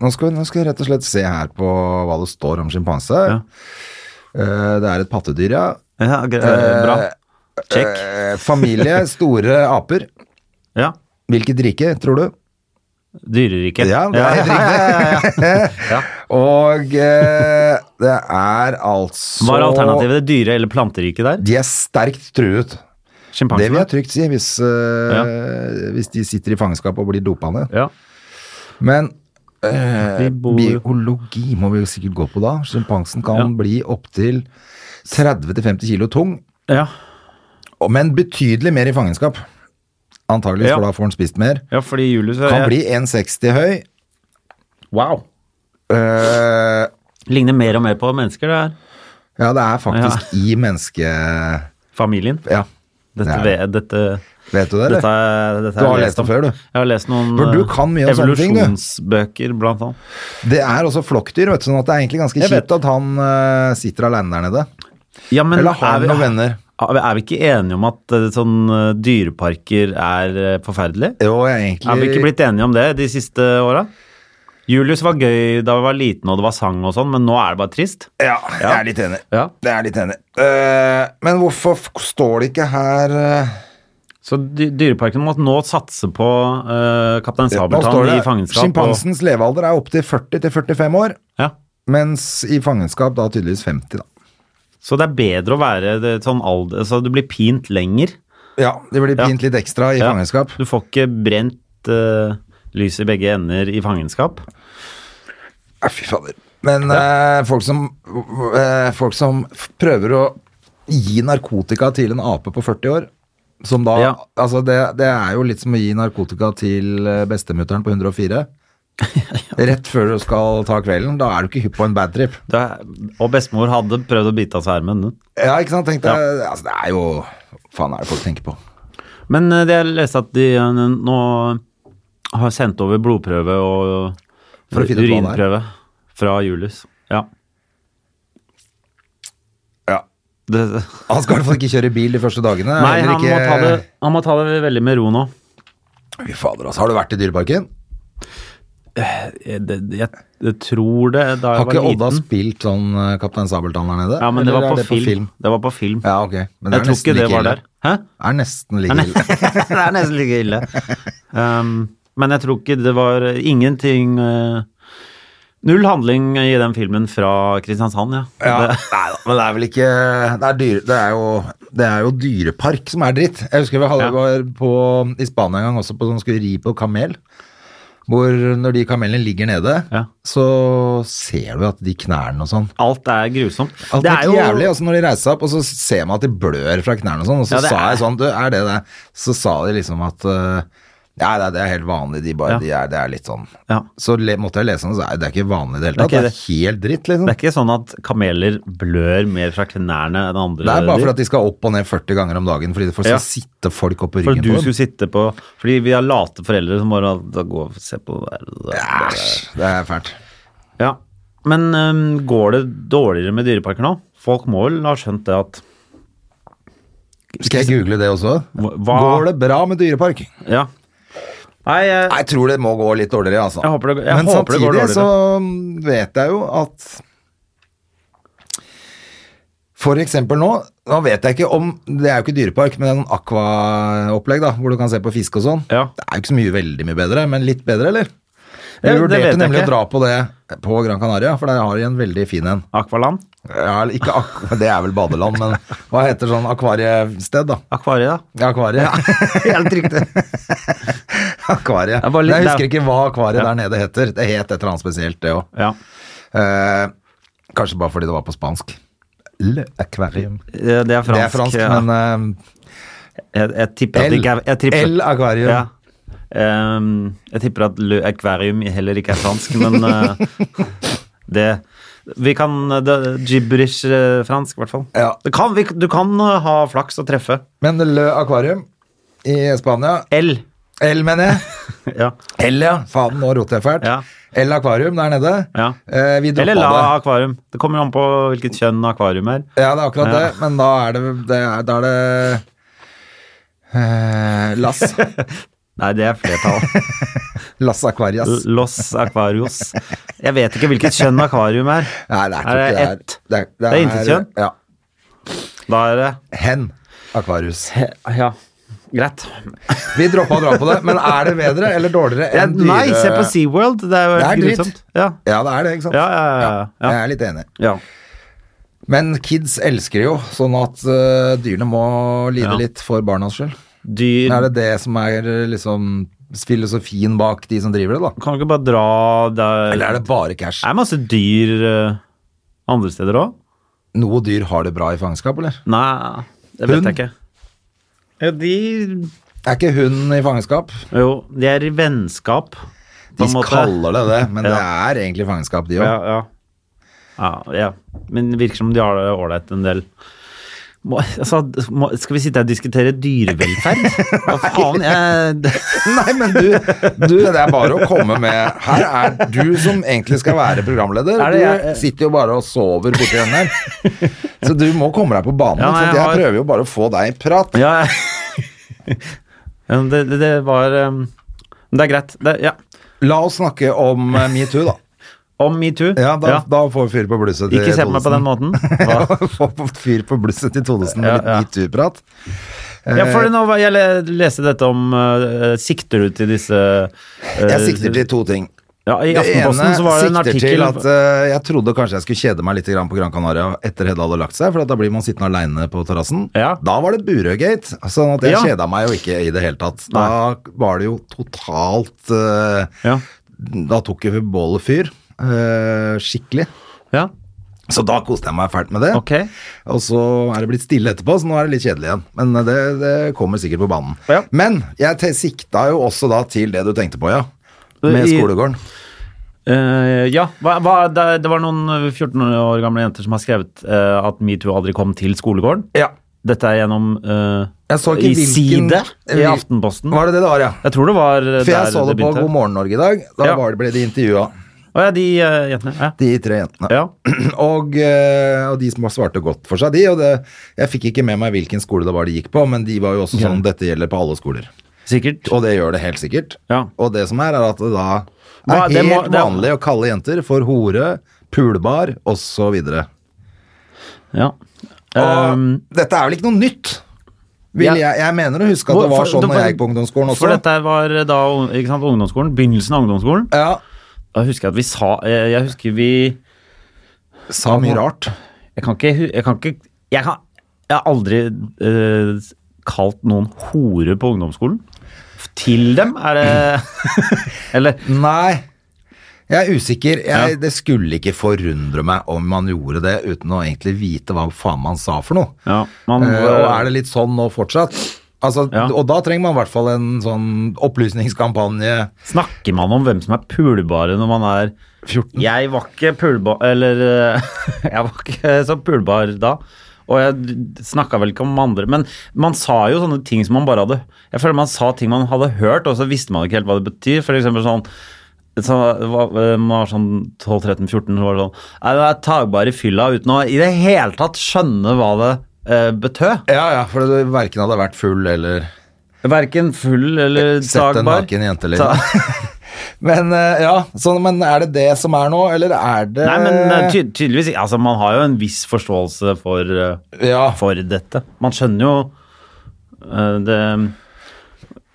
Speaker 1: nå skal, nå skal jeg rett og slett se her på hva det står om sjimpanse.
Speaker 2: Ja.
Speaker 1: Eh, det er et pattedyr, ja.
Speaker 2: Ja, ok, eh, bra. Check.
Speaker 1: Eh, familie, store aper.
Speaker 2: Ja.
Speaker 1: Hvilket rike, tror du?
Speaker 2: Dyreriket.
Speaker 1: Ja, det er helt riktig. Og eh, det er altså
Speaker 2: Var alternativet det dyre- eller planteriket der?
Speaker 1: De er sterkt truet. Det vil
Speaker 2: Sjimpansene?
Speaker 1: jeg trygt si, hvis, eh, hvis de sitter i fangenskap og blir dopa ned.
Speaker 2: Ja.
Speaker 1: Men eh,
Speaker 2: De bor-
Speaker 1: biologi må vi jo sikkert gå på da. Sjimpansen kan
Speaker 2: Ja.
Speaker 1: bli opptil 30-50 kilo tung,
Speaker 2: Ja.
Speaker 1: og- men betydelig mer i fangenskap. Antageligvis,
Speaker 2: Ja.
Speaker 1: for da får han spist mer.
Speaker 2: ja, fordi Julius er-
Speaker 1: Kan bli 1,60 høy.
Speaker 2: Wow.
Speaker 1: Eh,
Speaker 2: Ligner mer og mer på mennesker, det her.
Speaker 1: ja, det er faktisk i menneske...
Speaker 2: Familien.
Speaker 1: Ja,
Speaker 2: Dette,
Speaker 1: Det er
Speaker 2: ve- dette,
Speaker 1: vet du det, eller?
Speaker 2: dette, er- dette
Speaker 1: Du har lest det før, du.
Speaker 2: Jeg har lest noen
Speaker 1: For du kan mye om
Speaker 2: eh,
Speaker 1: sånne ting, du.
Speaker 2: evolusjonsbøker, blant annet.
Speaker 1: Det er også flokkdyr, vet du, sånn at det er egentlig ganske
Speaker 2: Jeg vet.
Speaker 1: kjipt at han eh, sitter alene der nede.
Speaker 2: Ja, men
Speaker 1: Eller har
Speaker 2: er vi-
Speaker 1: han noen venner?
Speaker 2: Er vi- er vi ikke enige om at eh, sånn eh, dyreparker er eh, forferdelig?
Speaker 1: Jo, jeg er egentlig
Speaker 2: Er vi ikke blitt enige om det de siste åra? Julius var gøy da vi var liten og det var sang og sånn, men nå er det bare trist.
Speaker 1: Ja, jeg er litt enig.
Speaker 2: Ja.
Speaker 1: Jeg er litt enig. Eh, men hvorfor f- står det ikke her eh,
Speaker 2: Så dy dyreparken må nå satse på eh, Kaptein
Speaker 1: Nå står
Speaker 2: Sabeltann
Speaker 1: det
Speaker 2: i fangenskap. og-
Speaker 1: Sjimpansens levealder er opptil 40-45 år,
Speaker 2: Ja.
Speaker 1: mens i fangenskap da tydeligvis 50, da.
Speaker 2: Så det er bedre å være det, sånn alder Så du blir pint lenger.
Speaker 1: Ja, det blir
Speaker 2: Ja.
Speaker 1: pint litt ekstra i
Speaker 2: Ja.
Speaker 1: fangenskap.
Speaker 2: Du får ikke brent uh, lys i begge ender i fangenskap.
Speaker 1: Ja, fy fader. Men eh, folk, som, eh, folk som f- prøver å gi narkotika til en ape på 40 år som da,
Speaker 2: Ja.
Speaker 1: altså det, det er jo litt som å gi narkotika til eh, bestemutteren på 104. Rett før du skal ta kvelden. Da er du ikke hypp på en bad trip.
Speaker 2: Det er, og bestemor hadde prøvd å bite av seg armen. hun.
Speaker 1: Ja, ikke sant? Tenkte jeg, altså, det er jo Hva faen er det folk tenker på?
Speaker 2: Men eh, det jeg leste at de eh, nå har sendt over blodprøve og
Speaker 1: For å finne ut hva det er.
Speaker 2: urinprøve fra Julius. Ja.
Speaker 1: Ja.
Speaker 2: Det,
Speaker 1: Han skal i hvert fall ikke kjøre bil de første dagene.
Speaker 2: nei,
Speaker 1: eller
Speaker 2: han må,
Speaker 1: ikke-
Speaker 2: ta det, han må ta det veldig med ro nå.
Speaker 1: Fy fader, altså. Har du vært i Dyreparken?
Speaker 2: Jeg, Eh, det, jeg, jeg tror det da jeg
Speaker 1: Har ikke
Speaker 2: var
Speaker 1: Odda
Speaker 2: liten.
Speaker 1: spilt sånn eh, Kaptein Sabeltann der nede?
Speaker 2: Ja, men det
Speaker 1: Eller
Speaker 2: var
Speaker 1: er
Speaker 2: på, film. Det var på film.
Speaker 1: Ja, ok. Men det
Speaker 2: jeg
Speaker 1: er
Speaker 2: tror
Speaker 1: nesten
Speaker 2: ikke det
Speaker 1: like
Speaker 2: var
Speaker 1: ille.
Speaker 2: der. Hæ?
Speaker 1: Er nesten like
Speaker 2: Nei,
Speaker 1: ille.
Speaker 2: det er nesten like ille. Um, men jeg tror ikke det var ingenting eh, Null handling i den filmen fra Kristiansand, ja.
Speaker 1: Ja,
Speaker 2: Det,
Speaker 1: nei da, men det er vel ikke Det er, dyre, det er, jo, det er jo dyrepark som er dritt. Jeg husker vi
Speaker 2: Ja.
Speaker 1: hadde, sånn- var på, i Spania en gang også på som skulle ri på kamel. Hvor når de kamelene ligger nede,
Speaker 2: Ja.
Speaker 1: så ser du at de knærne og sånn
Speaker 2: Alt er grusomt.
Speaker 1: Alt er, jævlig, altså Når de reiser seg opp, og så ser man at de blør fra knærne og sånn, og så
Speaker 2: Ja, det
Speaker 1: sa
Speaker 2: er-
Speaker 1: jeg sånn du, Er det det? Så sa de liksom at eh, Nei, nei, det er helt vanlig, de bare,
Speaker 2: Ja.
Speaker 1: de er, det er litt sånn
Speaker 2: Ja.
Speaker 1: Så le, måtte jeg lese den, så er det er ikke vanlig i det hele tatt.
Speaker 2: Det er
Speaker 1: Det
Speaker 2: ikke
Speaker 1: er helt dritt, liksom.
Speaker 2: Det er ikke sånn at kameler blør mer fra knærne enn andre
Speaker 1: Det er bare
Speaker 2: dyr.
Speaker 1: for at de skal opp og ned 40 ganger om dagen, fordi det får
Speaker 2: Ja.
Speaker 1: sitte folk opp på
Speaker 2: For
Speaker 1: ryggen
Speaker 2: du
Speaker 1: på dem.
Speaker 2: skulle sitte på Fordi vi har late foreldre som bare da går og ser på det der.
Speaker 1: Æsj, det er fælt.
Speaker 2: Ja. Men øhm, går det dårligere med dyreparker nå? Folk må vel ha skjønt det at
Speaker 1: Skal jeg google det også?
Speaker 2: Hva
Speaker 1: Går det bra med dyrepark?
Speaker 2: Ja. Nei, eh, jeg,
Speaker 1: Jeg tror det må gå litt dårligere, altså.
Speaker 2: Jeg håper det- jeg
Speaker 1: Men
Speaker 2: håper det går
Speaker 1: samtidig
Speaker 2: dårligere.
Speaker 1: så vet jeg jo at For eksempel nå Nå vet jeg ikke om Det er jo ikke dyrepark, men det er noen akvaopplegg, da, hvor du kan se på fisk og sånn.
Speaker 2: Ja.
Speaker 1: Det er jo ikke så mye veldig mye bedre, men litt bedre, eller?
Speaker 2: Ja,
Speaker 1: Jeg
Speaker 2: det vet
Speaker 1: vurderte
Speaker 2: jeg
Speaker 1: nemlig
Speaker 2: ikke.
Speaker 1: å dra på det på Gran Canaria, for der har de en veldig fin en.
Speaker 2: Akvaland?
Speaker 1: Ja, eller ikke ak det er vel badeland, men hva heter sånn akvariested, da?
Speaker 2: Akvariet, da.
Speaker 1: Ja, akvariet. Ja. Helt riktig. akvariet.
Speaker 2: Det er bare litt-
Speaker 1: Nei, jeg husker
Speaker 2: det
Speaker 1: ikke hva akvariet
Speaker 2: Ja.
Speaker 1: der nede heter. Det het et eller annet spesielt, det òg.
Speaker 2: Ja.
Speaker 1: Eh, kanskje bare fordi det var på spansk. Le aquarium.
Speaker 2: Eh, Det er fransk.
Speaker 1: det er fransk,
Speaker 2: ja.
Speaker 1: men
Speaker 2: Jeg, jeg tipper at
Speaker 1: eh,
Speaker 2: det ikke er jeg
Speaker 1: L,
Speaker 2: tipper,
Speaker 1: L aquarium.
Speaker 2: Ja. Ehm, jeg tipper at Le Aquarium heller ikke er fransk, men eh, det Vi kan eh, det, Gibberish-fransk, i hvert fall.
Speaker 1: Ja.
Speaker 2: Det kan, vi, du kan eh, ha flaks og treffe.
Speaker 1: Men Le aquarium i Spania
Speaker 2: L.
Speaker 1: L, mener jeg.
Speaker 2: Ja.
Speaker 1: L, ja. Faen, nå roter jeg fælt.
Speaker 2: Ja.
Speaker 1: L aquarium der nede.
Speaker 2: Ja.
Speaker 1: Eh, vi droppa
Speaker 2: Eller La
Speaker 1: det.
Speaker 2: Akvarium. Det kommer an på hvilket kjønn akvarium er.
Speaker 1: Ja, det er akkurat
Speaker 2: Ja.
Speaker 1: det, men da er det, det, er, da er det eh, Lass.
Speaker 2: Nei, det er flertall.
Speaker 1: Las Aquarias.
Speaker 2: Los Aquarios. Jeg vet ikke hvilket kjønn akvarium er.
Speaker 1: Nei, det
Speaker 2: Er
Speaker 1: er, ikke-
Speaker 2: det
Speaker 1: det er,
Speaker 2: ett?
Speaker 1: det er,
Speaker 2: Det er intetkjønn?
Speaker 1: Ja.
Speaker 2: Da er det
Speaker 1: Hen Aquarius.
Speaker 2: Ja, greit.
Speaker 1: Vi droppa å dra på det, men er det bedre eller dårligere
Speaker 2: Ja,
Speaker 1: enn dyre...
Speaker 2: nei, se på SeaWorld. Det er jo
Speaker 1: Det er
Speaker 2: helt
Speaker 1: dritt.
Speaker 2: grusomt. Ja.
Speaker 1: Ja, det er det, ikke sant?
Speaker 2: Ja, ja, ja, ja.
Speaker 1: Jeg er litt enig.
Speaker 2: ja.
Speaker 1: Men kids elsker jo, sånn at øh, dyrene må lide
Speaker 2: Ja.
Speaker 1: litt for barnas skyld.
Speaker 2: Dyr
Speaker 1: Er det det som er øh, liksom filosofien bak de som driver det, da?
Speaker 2: Kan du ikke bare dra der
Speaker 1: Eller er det bare cash?
Speaker 2: Det er masse dyr eh, andre steder òg.
Speaker 1: Noe dyr har det bra i fangenskap, eller?
Speaker 2: Nei, det vet
Speaker 1: Hund?
Speaker 2: jeg ikke. Ja, de
Speaker 1: Er ikke hunden i fangenskap?
Speaker 2: Jo, de er i vennskap, på
Speaker 1: De
Speaker 2: en måte.
Speaker 1: kaller det det, men
Speaker 2: Ja.
Speaker 1: det er egentlig fangenskap, de òg.
Speaker 2: Ja, ja. Ja, ja. Men det virker som de har det ålreit en del. Må, altså, må, skal vi sitte her og diskutere dyrevelferd? Hva faen? Jeg,
Speaker 1: Nei, men du, du, det er bare å komme med Her er du som egentlig skal være programleder.
Speaker 2: Er det
Speaker 1: Du
Speaker 2: jeg-
Speaker 1: sitter jo bare og sover borti den der. Så du må komme deg på banen.
Speaker 2: Ja, nei,
Speaker 1: for
Speaker 2: jeg
Speaker 1: jeg
Speaker 2: har-
Speaker 1: prøver jo bare å få deg i prat.
Speaker 2: Ja, ja. Ja, men det, det, det var um, Men det er greit. Det, ja.
Speaker 1: La oss snakke om eh, metoo, da.
Speaker 2: Om metoo.
Speaker 1: Ja, da, da får vi fyr på blusset til
Speaker 2: Ikke se på meg på den
Speaker 1: Thodesen.
Speaker 2: måten. Hva?
Speaker 1: Ja, Få på fyr på blusset til Thodesen med
Speaker 2: Ja,
Speaker 1: litt
Speaker 2: ja.
Speaker 1: metoo-prat.
Speaker 2: Ja, for det nå var, jeg le- leste dette om eh, Sikter du til disse eh,
Speaker 1: Jeg sikter til to ting.
Speaker 2: ja, I
Speaker 1: Det ene
Speaker 2: Aftenposten så var det en
Speaker 1: sikter
Speaker 2: artikkel
Speaker 1: til at eh, jeg trodde kanskje jeg skulle kjede meg litt grann på Gran Canaria etter Hedda hadde lagt seg, for at da blir man sittende aleine på terrassen.
Speaker 2: Ja.
Speaker 1: Da var det Burøgate, sånn at jeg
Speaker 2: Ja.
Speaker 1: kjeda meg jo ikke i det hele tatt. Da var det jo totalt eh,
Speaker 2: Ja.
Speaker 1: Da tok jo bålet fyr. eh, skikkelig.
Speaker 2: ja,
Speaker 1: Så da koste jeg meg fælt med det.
Speaker 2: ok.
Speaker 1: Og så er det blitt stille etterpå, så nå er det litt kjedelig igjen. Men eh, det, det kommer sikkert på banen.
Speaker 2: Ja.
Speaker 1: Men jeg te- sikta jo også da til det du tenkte på, ja. Med
Speaker 2: I-
Speaker 1: skolegården.
Speaker 2: Eh, ja, hva, hva, det, det var noen 14 år gamle jenter som har skrevet eh, at metoo aldri kom til skolegården.
Speaker 1: Ja.
Speaker 2: Dette er gjennom eh,
Speaker 1: Jeg så ikke
Speaker 2: i
Speaker 1: hvilken-
Speaker 2: Side i
Speaker 1: hvil-
Speaker 2: Aftenposten.
Speaker 1: Var det det det var, ja?
Speaker 2: Jeg tror det var eh,
Speaker 1: For jeg
Speaker 2: der
Speaker 1: så det på
Speaker 2: begynte.
Speaker 1: God morgen Norge i dag. Da
Speaker 2: Ja.
Speaker 1: var det, ble de intervjua,
Speaker 2: Å ja, de eh, jentene. Ja.
Speaker 1: de tre jentene.
Speaker 2: ja.
Speaker 1: Og, eh, og de som svarte godt for seg, de. Og det, jeg fikk ikke med meg hvilken skole det var de gikk på, men de var jo også sånn dette gjelder på alle skoler.
Speaker 2: Sikkert.
Speaker 1: Og det gjør det helt sikkert.
Speaker 2: Ja.
Speaker 1: Og det som er, er at det da er
Speaker 2: Hva, det må-
Speaker 1: helt
Speaker 2: det-
Speaker 1: vanlig å kalle jenter for hore, pulbar osv. Og,
Speaker 2: Ja.
Speaker 1: og
Speaker 2: Ehm,
Speaker 1: dette er vel ikke noe nytt? Vil
Speaker 2: Ja.
Speaker 1: jeg, jeg mener å huske at det
Speaker 2: Hvor-
Speaker 1: var
Speaker 2: for-
Speaker 1: sånn
Speaker 2: det
Speaker 1: da
Speaker 2: var-
Speaker 1: jeg gikk på ungdomsskolen også.
Speaker 2: for dette her var eh, da ikke sant, ungdomsskolen, begynnelsen av ungdomsskolen.
Speaker 1: Ja,
Speaker 2: Da husker jeg at vi sa eh, Jeg husker vi Jeg
Speaker 1: sa mye rart.
Speaker 2: kan ikke hu- Jeg kan ikke Jeg, kan, jeg har aldri eh, kalt noen hore på ungdomsskolen. stoff til dem? Er det Eller
Speaker 1: Nei, jeg er usikker. Jeg,
Speaker 2: Ja.
Speaker 1: Det skulle ikke forundre meg om man gjorde det uten å egentlig vite hva faen man sa for noe.
Speaker 2: Ja, man-
Speaker 1: Eh, og er det litt sånn nå fortsatt? Altså,
Speaker 2: Ja.
Speaker 1: Og da trenger man i hvert fall en sånn opplysningskampanje.
Speaker 2: snakker man om hvem som er pulbare når man er 14? Jeg var ikke pulbar Eller eh, Jeg var ikke så pulbar da. Og jeg snakka vel ikke om andre Men man sa jo sånne ting som man bare hadde Jeg føler man sa ting man hadde hørt, og så visste man ikke helt hva det betyr. For eksempel sånn så var, man var sånn 12-13-14, så var det sånn Nei, du er tagbar i fylla uten å i det hele tatt skjønne hva det eh, betød.
Speaker 1: Ja, ja, for du verken hadde vært full eller
Speaker 2: Verken full eller
Speaker 1: sett en
Speaker 2: tagbar.
Speaker 1: naken jente.
Speaker 2: Ta-
Speaker 1: Liksom. Men eh, ja, sånn, men er det det som er nå, eller er det
Speaker 2: Nei, men eh, ty tydeligvis ikke. Altså, man har jo en viss forståelse for, eh,
Speaker 1: ja.
Speaker 2: for dette. Man skjønner jo eh, det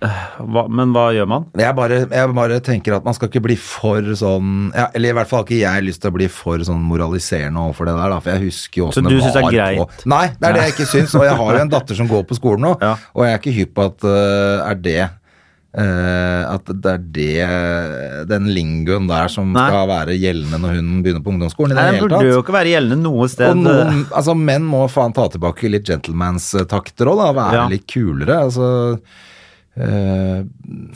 Speaker 2: eh, hva, Men hva gjør man?
Speaker 1: jeg bare, jeg bare tenker at man skal ikke bli for sånn ja, Eller i hvert fall har ikke jeg lyst til å bli for sånn moraliserende overfor det der, da, for jeg husker jo
Speaker 2: Så
Speaker 1: åssen det
Speaker 2: du
Speaker 1: var
Speaker 2: synes det er greit?
Speaker 1: på Nei, det er det jeg ikke syns, og jeg har jo en datter som går på skolen nå,
Speaker 2: Ja.
Speaker 1: og jeg er ikke hypp på at øh, er det øh, at det er det den lingoen der som
Speaker 2: Nei.
Speaker 1: skal være gjeldende når hun begynner på ungdomsskolen. i
Speaker 2: Nei,
Speaker 1: det
Speaker 2: Den
Speaker 1: hele
Speaker 2: burde
Speaker 1: tatt.
Speaker 2: jo ikke være gjeldende noe sted.
Speaker 1: Og noen, altså Menn må faen ta tilbake litt gentleman's-takter òg, da. Være
Speaker 2: Ja.
Speaker 1: litt kulere. Altså eh,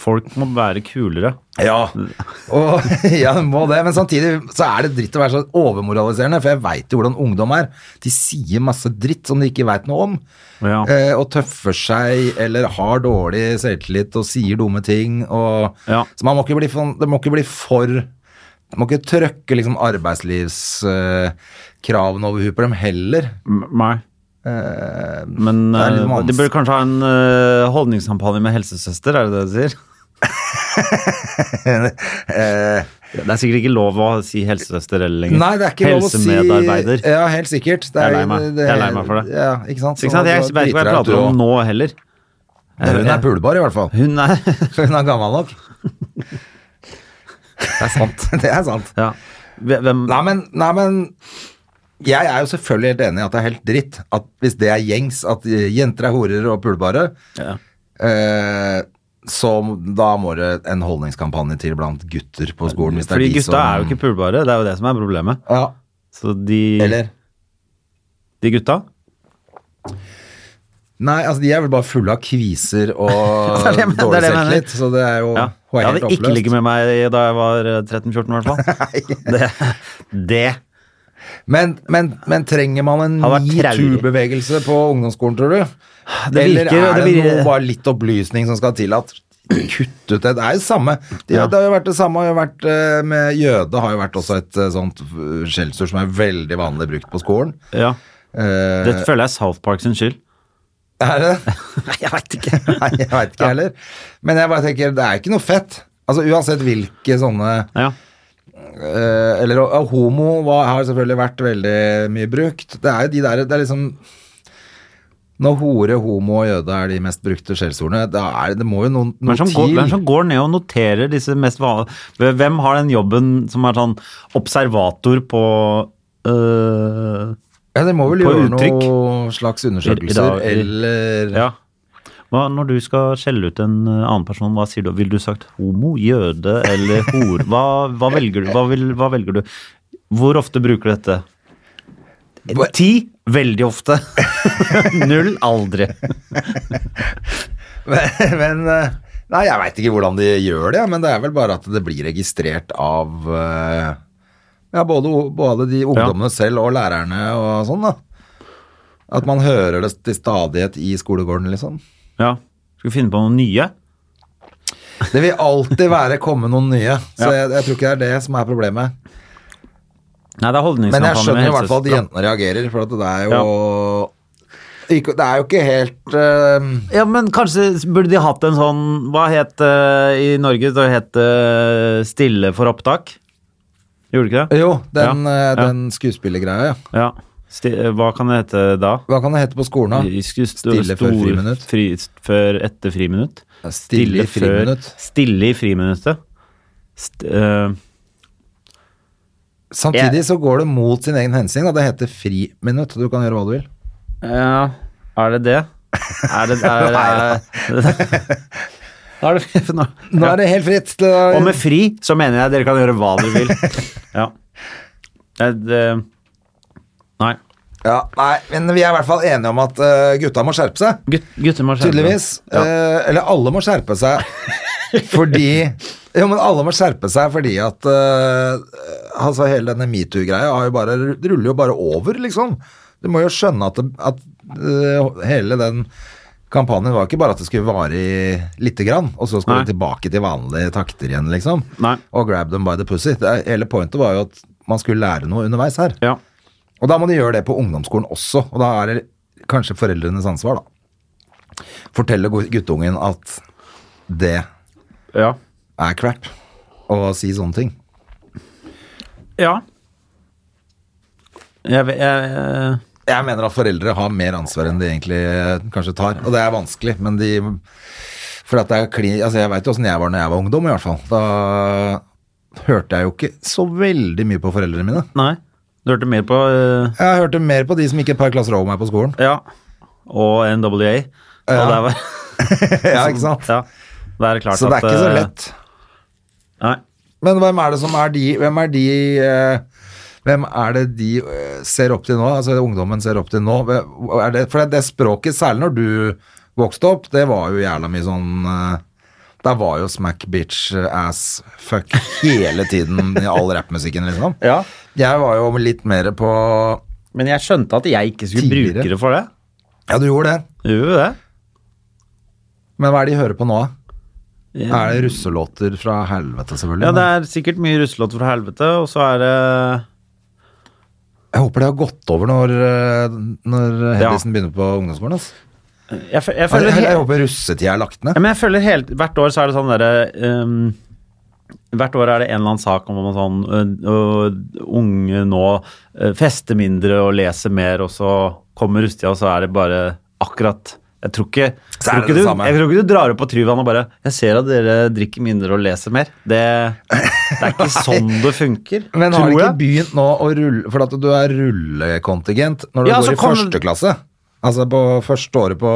Speaker 2: Folk må være kulere.
Speaker 1: Ja. Og, ja, det må det. Men samtidig så er det dritt å være så overmoraliserende, for jeg veit jo hvordan ungdom er. De sier masse dritt som de ikke veit noe om.
Speaker 2: Ja.
Speaker 1: Eh, og tøffer seg eller har dårlig selvtillit og sier dumme ting. Og,
Speaker 2: Ja.
Speaker 1: Så man må ikke bli for, det må ikke bli for man må ikke trøkke liksom arbeidslivskravene over huet på dem heller.
Speaker 2: M- Nei.
Speaker 1: Eh,
Speaker 2: Men
Speaker 1: Det er
Speaker 2: eh,
Speaker 1: litt vanskelig.
Speaker 2: de burde kanskje ha en eh, holdningskampanje med helsesøster, er det det du sier?
Speaker 1: eh,
Speaker 2: Det er sikkert ikke lov å si helsesøster eller lenger.
Speaker 1: Nei, det er ikke lov å si
Speaker 2: Helsemedarbeider.
Speaker 1: Ja, helt sikkert. Det
Speaker 2: Jeg er lei meg. Jeg er lei meg for det.
Speaker 1: Ja, ikke sant?
Speaker 2: Så ikke sant? Jeg
Speaker 1: Så
Speaker 2: vet ikke hva jeg
Speaker 1: driter deg ut,
Speaker 2: prater om
Speaker 1: du
Speaker 2: nå heller.
Speaker 1: også. Men Hun er pulbar, i hvert fall.
Speaker 2: Hun er
Speaker 1: Hun er gammel nok. Det er sant. det er sant.
Speaker 2: Ja. Hvem
Speaker 1: Nei, men, nei, men jeg er jo selvfølgelig helt enig i at det er helt dritt at hvis det er gjengs, at eh, jenter er horer og pulbare,
Speaker 2: Ja.
Speaker 1: eh, så da må det en holdningskampanje til blant gutter på skolen. Hvis det er
Speaker 2: Fordi
Speaker 1: de
Speaker 2: gutta
Speaker 1: som,
Speaker 2: er jo ikke pulbare, det er jo det som er problemet.
Speaker 1: ja,
Speaker 2: Så de,
Speaker 1: Eller?
Speaker 2: de gutta
Speaker 1: Nei, altså de er vel bare fulle av kviser og
Speaker 2: det er det jeg mener, det
Speaker 1: dårlig
Speaker 2: er det jeg mener.
Speaker 1: selvtillit, så det er jo
Speaker 2: ja.
Speaker 1: hun
Speaker 2: Jeg
Speaker 1: er helt
Speaker 2: hadde ikke
Speaker 1: oppløst.
Speaker 2: ligget med meg da jeg var eh, 13-14, i hvert fall. det, det
Speaker 1: men, men, men trenger man en
Speaker 2: Hadde vært traurig.
Speaker 1: metoo-bevegelse på ungdomsskolen, tror du?
Speaker 2: Det
Speaker 1: Eller
Speaker 2: virker-
Speaker 1: er det,
Speaker 2: det virker-
Speaker 1: noe, bare litt opplysning som skal til at kutt ut det? Det er jo samme. Det,
Speaker 2: Ja.
Speaker 1: det har jo vært det samme har jo vært, eh, med jøde, har jo vært også et eh, sånt eh, skjellsord som er veldig vanlig brukt på skolen.
Speaker 2: Ja.
Speaker 1: Eh,
Speaker 2: Det føler jeg er South Park sin skyld.
Speaker 1: Er det det? Nei, jeg veit ikke. Nei, jeg vet ikke heller. Men jeg bare tenker, det er ikke noe fett. Altså Uansett hvilke sånne
Speaker 2: Ja.
Speaker 1: eh, Eller og homo var, har selvfølgelig vært veldig mye brukt. Det er jo de der Det er liksom Når hore, homo og jøde er de mest brukte skjellsordene, da er det, det må jo noen,
Speaker 2: Hvem
Speaker 1: noe
Speaker 2: som, går,
Speaker 1: til.
Speaker 2: hvem som går ned og noterer disse mest vanlige Hvem har den jobben som er sånn observator på øh,
Speaker 1: ja, de må vel
Speaker 2: på
Speaker 1: gjøre
Speaker 2: uttrykk?
Speaker 1: noen slags undersøkelser
Speaker 2: I- i dag- i-
Speaker 1: eller
Speaker 2: Ja. Hva, når du skal skjelle ut en eh, annen person, hva sier du? Vil du sagt homo, jøde eller hor? Hva, hva, velger, du? Hva, vil, hva velger du? Hvor ofte bruker du dette?
Speaker 1: Hva-
Speaker 2: Ti? Veldig ofte. Null? Aldri.
Speaker 1: Men, men, eh, Nei, jeg veit ikke hvordan de gjør det, men det er vel bare at det blir registrert av eh, ja, både, både de ungdommene selv og lærerne og sånn, da. At man hører det til stadighet i skolegården, liksom.
Speaker 2: Ja. Skal vi finne på noen nye?
Speaker 1: Det vil alltid være komme noen nye, så
Speaker 2: Ja.
Speaker 1: jeg, jeg tror ikke det er det som er problemet.
Speaker 2: Nei, det er
Speaker 1: Men jeg
Speaker 2: holdningskampanje
Speaker 1: skjønner i hvert fall at
Speaker 2: helsesøstre.
Speaker 1: jentene reagerer, for at det er jo ikke, Det er jo ikke helt eh,
Speaker 2: Ja, men kanskje burde de hatt en sånn Hva het det i Norge? Det het det Stille for opptak. Gjorde det ikke det?
Speaker 1: Jo, den,
Speaker 2: Ja,
Speaker 1: eh,
Speaker 2: ja.
Speaker 1: den skuespillergreia, ja.
Speaker 2: Ja. Sti, eh, hva kan det hete da?
Speaker 1: Hva kan det hete på skolen, da?
Speaker 2: I sku- sto-
Speaker 1: Stille før
Speaker 2: stor-
Speaker 1: friminutt.
Speaker 2: Fri, før etter friminutt.
Speaker 1: Ja, stille i
Speaker 2: før-
Speaker 1: friminutt.
Speaker 2: Stille i friminuttet. St, eh,
Speaker 1: Samtidig
Speaker 2: Jeg-
Speaker 1: så går det mot sin egen hensikt. da. Det heter friminutt. Du kan gjøre hva du vil.
Speaker 2: ja, er det det? Er det er, er, Da er det nå.
Speaker 1: Nå er det helt fritt. til å-
Speaker 2: Og med fri så mener jeg dere kan gjøre hva dere vil. Ja. Det, det, nei.
Speaker 1: Ja, nei, men vi er i hvert fall enige om at eh, gutta må skjerpe seg.
Speaker 2: Gut, gutter må skjerpe seg.
Speaker 1: Tydeligvis.
Speaker 2: Ja.
Speaker 1: Eh, eller alle må skjerpe seg fordi Jo, men alle må skjerpe seg fordi at eh, Altså, hele denne metoo-greia har jo bare- ruller jo bare over, liksom. Du må jo skjønne at, det, at eh, hele den kampanjen var ikke bare at det skulle vare i lite grann, og så skulle
Speaker 2: Nei.
Speaker 1: det tilbake til vanlige takter igjen, liksom.
Speaker 2: Nei.
Speaker 1: Og grab them by the pussy. Det, er- hele pointet var jo at man skulle lære noe underveis her.
Speaker 2: Ja.
Speaker 1: Og da må de gjøre det på ungdomsskolen også, og da er det kanskje foreldrenes ansvar, da. Fortelle gu- guttungen at det
Speaker 2: Ja.
Speaker 1: er crap å si sånne ting.
Speaker 2: ja. Jeg, ve- jeg, jeg
Speaker 1: Jeg mener at foreldre har mer ansvar enn de egentlig eh, kanskje tar, og det er vanskelig, men de For at det er kli, altså jeg veit jo åssen jeg var når jeg var ungdom, i hvert fall. Da hørte jeg jo ikke så veldig mye på foreldrene mine.
Speaker 2: Nei. Du hørte mer på eh,
Speaker 1: Jeg hørte mer på de som gikk et par klasser over meg på skolen.
Speaker 2: Ja. Og NWA. Og
Speaker 1: Ja.
Speaker 2: der var,
Speaker 1: ja, ikke sant?
Speaker 2: ja. Der er det klart
Speaker 1: Så det
Speaker 2: at,
Speaker 1: er ikke så
Speaker 2: eh,
Speaker 1: lett.
Speaker 2: Nei.
Speaker 1: Men hvem er det som er de Hvem er, de, eh, hvem er det de eh, ser opp til nå? Altså ungdommen ser opp til nå? Hve- Er det, for det, det språket, særlig når du vokste opp, det var jo jævla mye sånn eh, Der var jo smack, bitch, ass, fuck hele tiden i all rappmusikken, liksom.
Speaker 2: Ja.
Speaker 1: Jeg var jo litt mer på
Speaker 2: Men jeg skjønte at jeg ikke skulle
Speaker 1: Tidligere.
Speaker 2: bruke det for det.
Speaker 1: Ja, du gjorde det.
Speaker 2: Gjorde du det?
Speaker 1: Men hva er det de hører på nå, da?
Speaker 2: Ja.
Speaker 1: Er det russelåter fra helvete, selvfølgelig?
Speaker 2: Ja, det
Speaker 1: men
Speaker 2: er sikkert mye russelåter fra helvete, og så er det
Speaker 1: Jeg håper det har gått over når, eh, når
Speaker 2: Ja.
Speaker 1: Hedisen begynner på ungdomsskolen. Altså.
Speaker 2: Jeg, fø- jeg
Speaker 1: Jeg,
Speaker 2: føler,
Speaker 1: jeg,
Speaker 2: he-
Speaker 1: jeg håper russetida er lagt ned.
Speaker 2: ja, men jeg føler helt, Hvert år så er det sånn derre ehm, Hvert år er det en eller annen sak om om sånn øh, øh, Unge nå øh, fester mindre og leser mer, og så kommer russetida, og så er det bare akkurat jeg tror, ikke, jeg,
Speaker 1: er
Speaker 2: tror
Speaker 1: det
Speaker 2: ikke
Speaker 1: det
Speaker 2: du,
Speaker 1: samme.
Speaker 2: jeg tror ikke du drar opp på Tryvann og bare 'Jeg ser at dere drikker mindre og leser mer'. Det, det er ikke sånn det funker.
Speaker 1: Men har
Speaker 2: tror
Speaker 1: det ikke
Speaker 2: jeg.
Speaker 1: begynt nå å rulle For at du er rullekontingent når du
Speaker 2: Ja, så
Speaker 1: går i
Speaker 2: kom-
Speaker 1: første klasse. Altså på første året på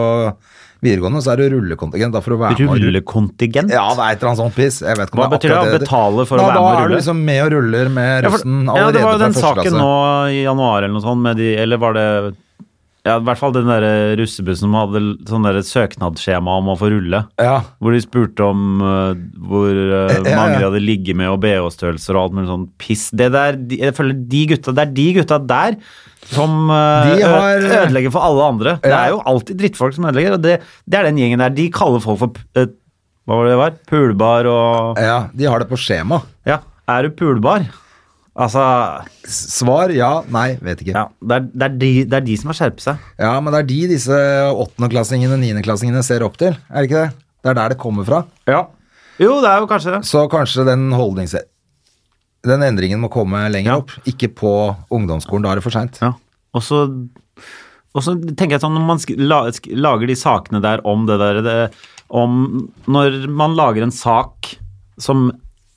Speaker 1: videregående så er du rullekontingent. Da får du være med å rulle.
Speaker 2: Rullekontingent?
Speaker 1: Ja, det er et eller annet sånt piss. Jeg vet ikke om
Speaker 2: Hva
Speaker 1: det er
Speaker 2: betyr det?
Speaker 1: akkurat
Speaker 2: Å betale for å
Speaker 1: Nei,
Speaker 2: være med å
Speaker 1: Da er du
Speaker 2: rulle?
Speaker 1: liksom med og ruller med
Speaker 2: Ja, for-
Speaker 1: russen
Speaker 2: ja, det
Speaker 1: allerede
Speaker 2: var jo
Speaker 1: fra
Speaker 2: den
Speaker 1: første
Speaker 2: saken
Speaker 1: klasse.
Speaker 2: nå i januar eller noe sånt, med de, eller var det ja, I hvert fall den der russebussen som hadde l- sånn der søknadsskjema om å få rulle.
Speaker 1: Ja.
Speaker 2: Hvor de spurte om eh, hvor eh,
Speaker 1: Ja, ja.
Speaker 2: mange de hadde ligget med, og BH-størrelser og alt mulig sånn piss. Det der, de, jeg føler de gutta, det er de gutta der som eh,
Speaker 1: De
Speaker 2: ø-
Speaker 1: har-
Speaker 2: ødelegger for alle andre. Det
Speaker 1: Ja.
Speaker 2: er jo alltid drittfolk som ødelegger, og det, det er den gjengen der. De kaller folk for p- eh, Hva var det det var? Pulbar og
Speaker 1: ja, de har det på skjema.
Speaker 2: Ja, er du pulbar? Altså
Speaker 1: S- Svar ja, nei, vet ikke. Ja,
Speaker 2: Ja, det er, det er, de, det er de som har skjerpet seg.
Speaker 1: men det er de disse åttendeklassingene, niendeklassingene ser opp til, er det ikke det? Det er der det kommer fra.
Speaker 2: Ja. Jo, det er jo kanskje det.
Speaker 1: Så kanskje den holdnings... Den endringen må komme lenger
Speaker 2: Ja.
Speaker 1: opp, ikke på ungdomsskolen, da er det for seint.
Speaker 2: Ja. Og så og så tenker jeg sånn, når man sk- la, sk- lager de sakene der om det der det, om, Når man lager en sak som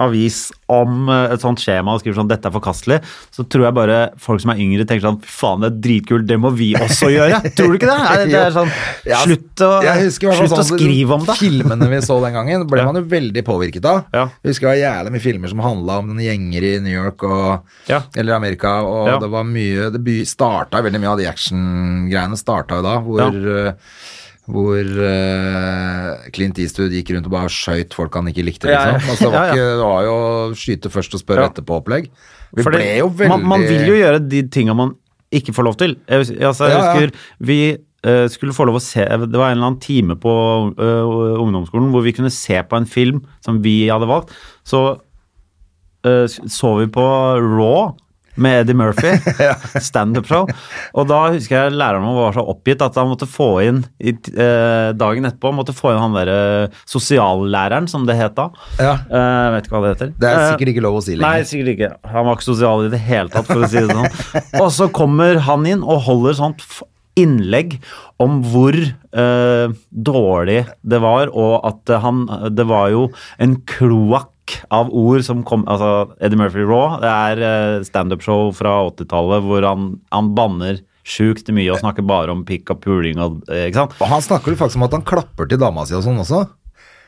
Speaker 2: avis om eh, et sånt skjema og skriver sånn 'dette er forkastelig', så tror jeg bare folk som er yngre, tenker sånn 'fy faen, det er dritkult, det må vi også gjøre'. tror du ikke det? Er, det er sånn
Speaker 1: Ja,
Speaker 2: Slutt å,
Speaker 1: jeg husker i hvert fall
Speaker 2: slutt å
Speaker 1: sånn-
Speaker 2: skrive om det.
Speaker 1: Filmene vi så den gangen, ble
Speaker 2: Ja.
Speaker 1: man jo veldig påvirket av.
Speaker 2: Ja.
Speaker 1: Jeg husker det var jævlig mye filmer som handla om noen gjenger i New York og,
Speaker 2: Ja.
Speaker 1: eller Amerika, og
Speaker 2: Ja.
Speaker 1: det var mye Det by- starta veldig mye av de actiongreiene starta jo da, hvor eh, hvor eh, Clint Eastwood gikk rundt og bare skøyt folk han ikke likte,
Speaker 2: Ja, ja.
Speaker 1: liksom. Altså, det,
Speaker 2: Ja, ja.
Speaker 1: var ikke, det var jo skyte først og spørre
Speaker 2: Ja.
Speaker 1: etterpå-opplegg. Vi
Speaker 2: Fordi
Speaker 1: ble jo veldig
Speaker 2: man, man vil jo gjøre de tinga man ikke får lov til. Jeg, hus- altså, jeg
Speaker 1: Ja, ja.
Speaker 2: husker vi eh, skulle få lov å se Det var en eller annen time på eh, ungdomsskolen hvor vi kunne se på en film som vi hadde valgt. Så eh, s- så vi på Raw med Eddie Murphy, standup-show. Og da husker jeg læreren vår var så oppgitt at han måtte få inn i, t- eh, dagen etterpå måtte få inn han derre sosiallæreren, som det het da.
Speaker 1: Ja.
Speaker 2: Eh, vet ikke hva det heter.
Speaker 1: Det er
Speaker 2: Eh,
Speaker 1: sikkert ikke lov å si
Speaker 2: Nei,
Speaker 1: lenger.
Speaker 2: sikkert ikke. Han var ikke sosial i det hele tatt, for å si det sånn. Og så kommer han inn og holder sånt f- innlegg om hvor eh, dårlig det var, og at eh, han Det var jo en kloakk av ord som kom Altså, Eddie Murphy Raw, det er eh, standup-show fra 80-tallet hvor han, han banner sjukt mye og snakker bare om pikk og puling og eh, Ikke sant?
Speaker 1: Og han snakker jo faktisk om at han klapper til dama si og sånn også.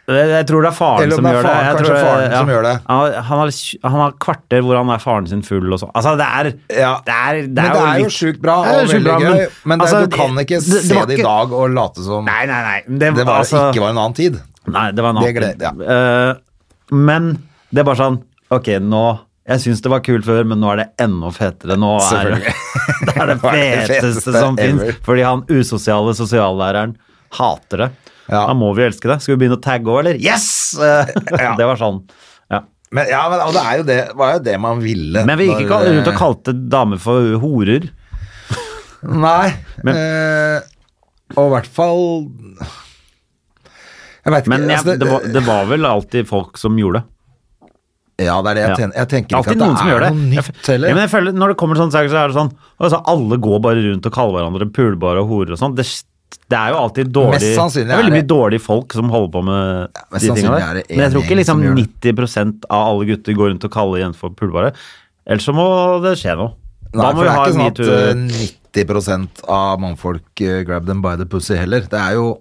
Speaker 2: Jeg jeg tror det er faren
Speaker 1: Eller om
Speaker 2: som
Speaker 1: det er
Speaker 2: gjør det.
Speaker 1: faren,
Speaker 2: Jeg
Speaker 1: kanskje
Speaker 2: tror,
Speaker 1: faren som gjør det.
Speaker 2: Han, har- han, har, tj- han har kvarter hvor han er faren sin full og sånn. Altså, det er,
Speaker 1: Ja.
Speaker 2: det er, det
Speaker 1: Men det er jo
Speaker 2: litt-
Speaker 1: sjukt bra
Speaker 2: Det er
Speaker 1: og
Speaker 2: sjukt
Speaker 1: veldig
Speaker 2: bra,
Speaker 1: gøy, men, det, er-
Speaker 2: altså,
Speaker 1: du kan ikke
Speaker 2: det- det
Speaker 1: se
Speaker 2: var
Speaker 1: det i
Speaker 2: ikke-
Speaker 1: dag og late som
Speaker 2: Nei, nei, nei. Det,
Speaker 1: det var,
Speaker 2: altså-
Speaker 1: ikke var en annen tid.
Speaker 2: Nei, det var en annen
Speaker 1: Det gleder-
Speaker 2: ting. Eh, men det er bare sånn Ok, nå Jeg syns det var kult før, men nå er det enda fetere. Nå er det, det, er det
Speaker 1: Nå er det
Speaker 2: feteste
Speaker 1: feteste
Speaker 2: som
Speaker 1: ever.
Speaker 2: fins. Fordi han usosiale sosiallæreren hater det.
Speaker 1: Ja.
Speaker 2: Da må vi elske det. Skal vi begynne å tagge òg, eller? Yes! Eh,
Speaker 1: Ja.
Speaker 2: Det var sånn. Ja.
Speaker 1: Men, ja, men, og det er jo det, var jo det man ville.
Speaker 2: Men vi gikk ikke
Speaker 1: når-
Speaker 2: rundt og kalte damer for horer.
Speaker 1: Nei.
Speaker 2: Men-
Speaker 1: eh, og i hvert fall Jeg veit ikke.
Speaker 2: Men jeg,
Speaker 1: altså,
Speaker 2: det, var, det var vel alltid folk som gjorde det.
Speaker 1: ja, det er det jeg,
Speaker 2: Ja.
Speaker 1: ten, jeg tenker.
Speaker 2: Alltid
Speaker 1: Ikke at det
Speaker 2: noen som
Speaker 1: er
Speaker 2: gjør det.
Speaker 1: noe
Speaker 2: Jeg
Speaker 1: nytt
Speaker 2: f- Ja,
Speaker 1: heller.
Speaker 2: men jeg føler, når det kommer sånne saker, så er det sånn altså, Alle går bare rundt og kaller hverandre pulebare og horer og sånn. Det, det er jo alltid dårlig
Speaker 1: Mest sannsynlig
Speaker 2: Det er veldig
Speaker 1: er
Speaker 2: mye
Speaker 1: det-
Speaker 2: dårlige folk som holder på med
Speaker 1: mest
Speaker 2: de tingene
Speaker 1: sannsynlig er
Speaker 2: der.
Speaker 1: det en
Speaker 2: Men jeg tror ikke
Speaker 1: gjeng som
Speaker 2: liksom
Speaker 1: gjør det.
Speaker 2: 90 av alle gutter går rundt og kaller jenter for pulebare. Ellers så må det skje noe.
Speaker 1: Nei,
Speaker 2: da
Speaker 1: for
Speaker 2: må
Speaker 1: det
Speaker 2: vi
Speaker 1: er
Speaker 2: ha
Speaker 1: ikke
Speaker 2: en
Speaker 1: sånn at eh,
Speaker 2: metoo.
Speaker 1: 90 av mannfolk eh, grab them by the pussy heller. Det er jo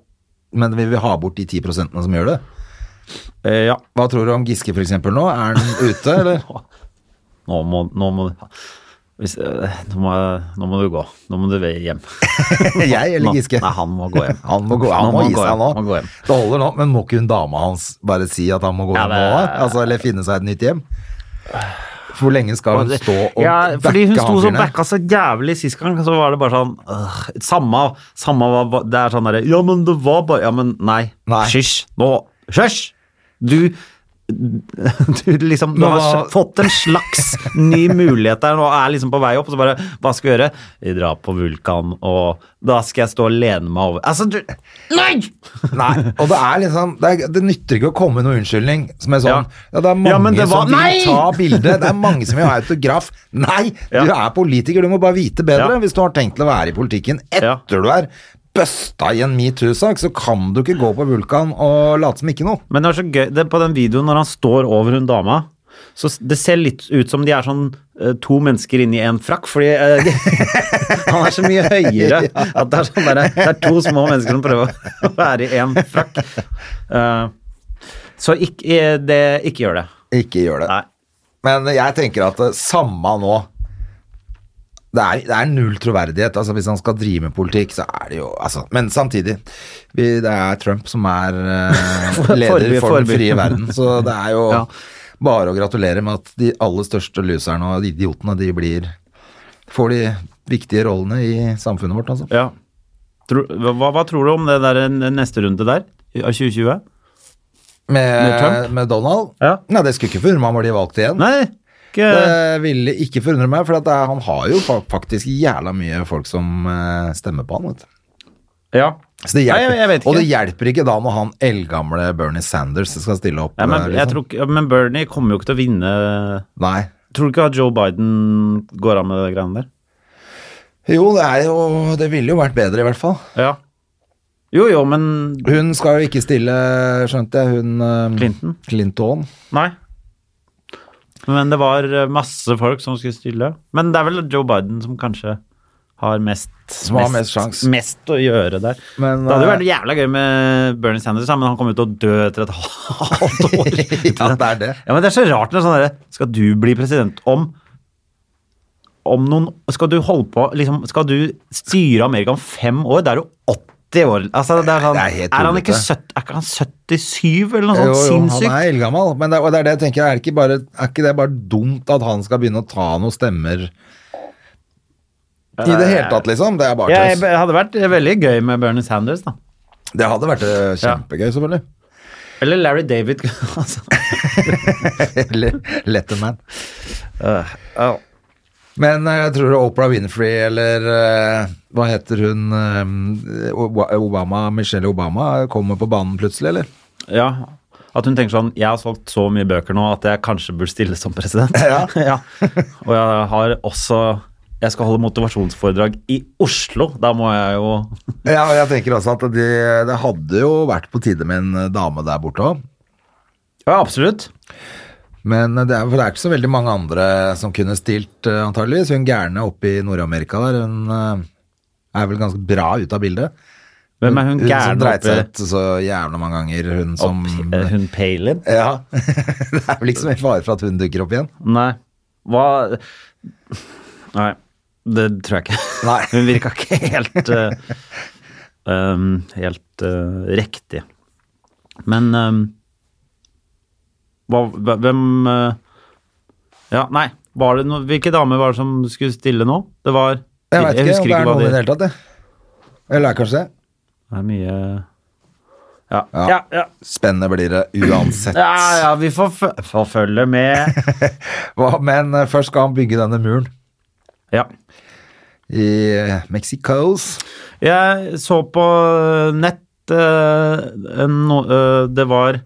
Speaker 1: Men vi vil ha bort de 10 som gjør det.
Speaker 2: Eh, Ja,
Speaker 1: Hva tror du om Giske for eksempel nå? Er han ute, eller?
Speaker 2: nå må, nå må hvis, eh, nå, må, nå må du gå. Nå må du hjem.
Speaker 1: Jeg eller
Speaker 2: Nå-
Speaker 1: Giske?
Speaker 2: Nei, han må gå hjem.
Speaker 1: Han må, gå, han
Speaker 2: Nå
Speaker 1: må, gi
Speaker 2: gå
Speaker 1: seg
Speaker 2: hjem,
Speaker 1: nå.
Speaker 2: må gå hjem.
Speaker 1: Det holder nå, men må ikke hun dama hans bare si at han må gå
Speaker 2: Ja,
Speaker 1: hjem
Speaker 2: det-
Speaker 1: nå? da? Altså, eller finne seg et nytt hjem? For hvor lenge skal hun stå og
Speaker 2: ja, Fordi hun
Speaker 1: backe
Speaker 2: sto sånn
Speaker 1: han
Speaker 2: så
Speaker 1: fyren her?
Speaker 2: backa så jævlig sist gang, så var det bare sånn øh, Samme, samme hva- hva- Det er sånn derre Ja, men det var bare Ja, men nei.
Speaker 1: Nei.
Speaker 2: Hysj. Nå. Hysj! Du du liksom, du
Speaker 1: Nå
Speaker 2: har
Speaker 1: var-
Speaker 2: sl- fått en slags ny mulighet der nå, er liksom på vei opp, og så bare Hva skal jeg gjøre? Vi drar på Vulkan, og da skal jeg stå og lene meg over Altså, du Nei!
Speaker 1: Nei, og det er liksom det, er, det nytter ikke å komme med noen unnskyldning som er sånn Ja,
Speaker 2: Ja.
Speaker 1: det er mange
Speaker 2: Ja, men det var-
Speaker 1: som vil
Speaker 2: Nei!
Speaker 1: ta bilde, det er mange som vil ha autograf. Nei,
Speaker 2: Ja.
Speaker 1: du er politiker, du må bare vite bedre.
Speaker 2: Ja.
Speaker 1: Hvis du har tenkt til å være i politikken etter
Speaker 2: Ja.
Speaker 1: du er busta i en metoo-sak, så kan du ikke gå på Vulkan og late som ikke noe.
Speaker 2: Men det er så gøy, det, på den videoen når han står over hun dama, så s- det ser litt ut som de er sånn eh, to mennesker inni en frakk, fordi eh, han er så mye høyere at det er sånn der, det er to små mennesker som prøver å være i en frakk. Eh, så ikke, eh, det, ikke gjør det.
Speaker 1: Ikke gjør det.
Speaker 2: Nei.
Speaker 1: Men jeg tenker at det samme nå det er, det er null troverdighet. altså Hvis han skal drive med politikk, så er det jo altså, Men samtidig, vi, det er Trump som er eh,
Speaker 2: For-
Speaker 1: leder
Speaker 2: forby-
Speaker 1: for den
Speaker 2: forby.
Speaker 1: frie verden, så det er jo
Speaker 2: Ja.
Speaker 1: bare å gratulere med at de aller største loserne og idiotene, de blir Får de viktige rollene i samfunnet vårt, altså.
Speaker 2: Ja. Tror- hva, hva tror du om det der n- neste runde der, av 2020?
Speaker 1: Med,
Speaker 2: Med
Speaker 1: med,
Speaker 2: Trump?
Speaker 1: Donald?
Speaker 2: Ja.
Speaker 1: Nei, det skulle ikke forundre meg om han blir valgt igjen.
Speaker 2: Nei, ikke...
Speaker 1: Det ville ikke forundre meg, for at det er, han har jo fa- faktisk jævla mye folk som eh, stemmer på han. Vet du.
Speaker 2: Ja.
Speaker 1: Så det hjelper.
Speaker 2: Nei, jeg, jeg vet ikke.
Speaker 1: Og det hjelper ikke da når han eldgamle Bernie Sanders skal stille opp.
Speaker 2: ja, men,
Speaker 1: eh,
Speaker 2: jeg
Speaker 1: liksom.
Speaker 2: tror, ikke- men Bernie kommer jo ikke til å vinne
Speaker 1: Nei.
Speaker 2: Tror du ikke at Joe Biden går av med de greiene der?
Speaker 1: Jo, det er jo Det ville jo vært bedre, i hvert fall.
Speaker 2: Ja. Jo, jo, men
Speaker 1: Hun skal jo ikke stille, skjønte jeg, hun eh,
Speaker 2: Clinton?
Speaker 1: Clinton.
Speaker 2: Nei. Men det var masse folk som skulle stille. Men det er vel Joe Biden som kanskje har mest
Speaker 1: Som har mest sjans.
Speaker 2: Mest å gjøre der.
Speaker 1: Men,
Speaker 2: det hadde jo
Speaker 1: eh,
Speaker 2: vært jævla gøy med Bernie Sanders, da, men han kommer jo til å dø etter et halvt år.
Speaker 1: Ja, det er det.
Speaker 2: Ja, men det er så rart når sånn derre Skal du bli president om om noen, Skal du holde på liksom, Skal du styre Amerika om fem år? Da er du 80 år. Altså, det er, sånn,
Speaker 1: Det er helt
Speaker 2: er han ikke
Speaker 1: tullete.
Speaker 2: 70, er ikke han 77 eller noe sånt
Speaker 1: Jo, jo, han
Speaker 2: sinnssykt?
Speaker 1: er eldgammel, men det, og det er det jeg tenker. Er, det ikke bare, er ikke det bare dumt at han skal begynne å ta noen stemmer i det hele tatt, liksom? Det er bare
Speaker 2: Ja,
Speaker 1: tøys.
Speaker 2: jeg- det hadde vært veldig gøy med Bernie Sanders, da.
Speaker 1: Det hadde vært eh, kjempegøy, selvfølgelig.
Speaker 2: Eller Larry David. altså.
Speaker 1: Eller Letterman.
Speaker 2: Øh, øh.
Speaker 1: Men eh, jeg tror Oprah Winfrey eller eh, hva heter hun eh, Oba- Obama, Michelle Obama kommer på banen plutselig, eller?
Speaker 2: Ja. At hun tenker sånn Jeg har solgt så mye bøker nå at jeg kanskje burde stille som president.
Speaker 1: Ja.
Speaker 2: Og jeg har også Jeg skal holde motivasjonsforedrag i Oslo. Da må jeg jo
Speaker 1: Ja, og jeg tenker også at det, det hadde jo vært på tide med en eh, dame der borte òg.
Speaker 2: Ja, absolutt.
Speaker 1: Men eh, det er, for det er ikke så veldig mange andre som kunne stilt, eh, antageligvis. Hun gærne oppe i Nord-Amerika der, hun eh, er vel ganske bra ute av bildet.
Speaker 2: Hvem er hun
Speaker 1: Hun som
Speaker 2: gærne
Speaker 1: dreit
Speaker 2: oppi
Speaker 1: seg ut så jævla mange ganger, hun som
Speaker 2: opp, eh, Hun Palin?
Speaker 1: Ja. det er vel ikke så mye fare for at hun dukker opp igjen.
Speaker 2: Nei. Hva Nei, det tror jeg ikke.
Speaker 1: Nei.
Speaker 2: Hun virka ikke helt eh, um, Helt eh, riktig. Men um, hva, hva- Hvem eh, Ja, nei. Var det noe, hvilke damer var det som skulle stille nå? Det var
Speaker 1: Jeg veit ikke om
Speaker 2: husker
Speaker 1: det er
Speaker 2: hva
Speaker 1: noen i
Speaker 2: de-
Speaker 1: det hele tatt, jeg. Eller er det kanskje det?
Speaker 2: Det er mye ja.
Speaker 1: Ja.
Speaker 2: Ja, ja.
Speaker 1: Spennende blir det uansett.
Speaker 2: ja, ja vi får, fø- får følge med.
Speaker 1: Hva- Men eh, først skal han bygge denne muren
Speaker 2: Ja.
Speaker 1: i eh, Mexicos.
Speaker 2: Jeg så på nett eh, en no, eh, Det var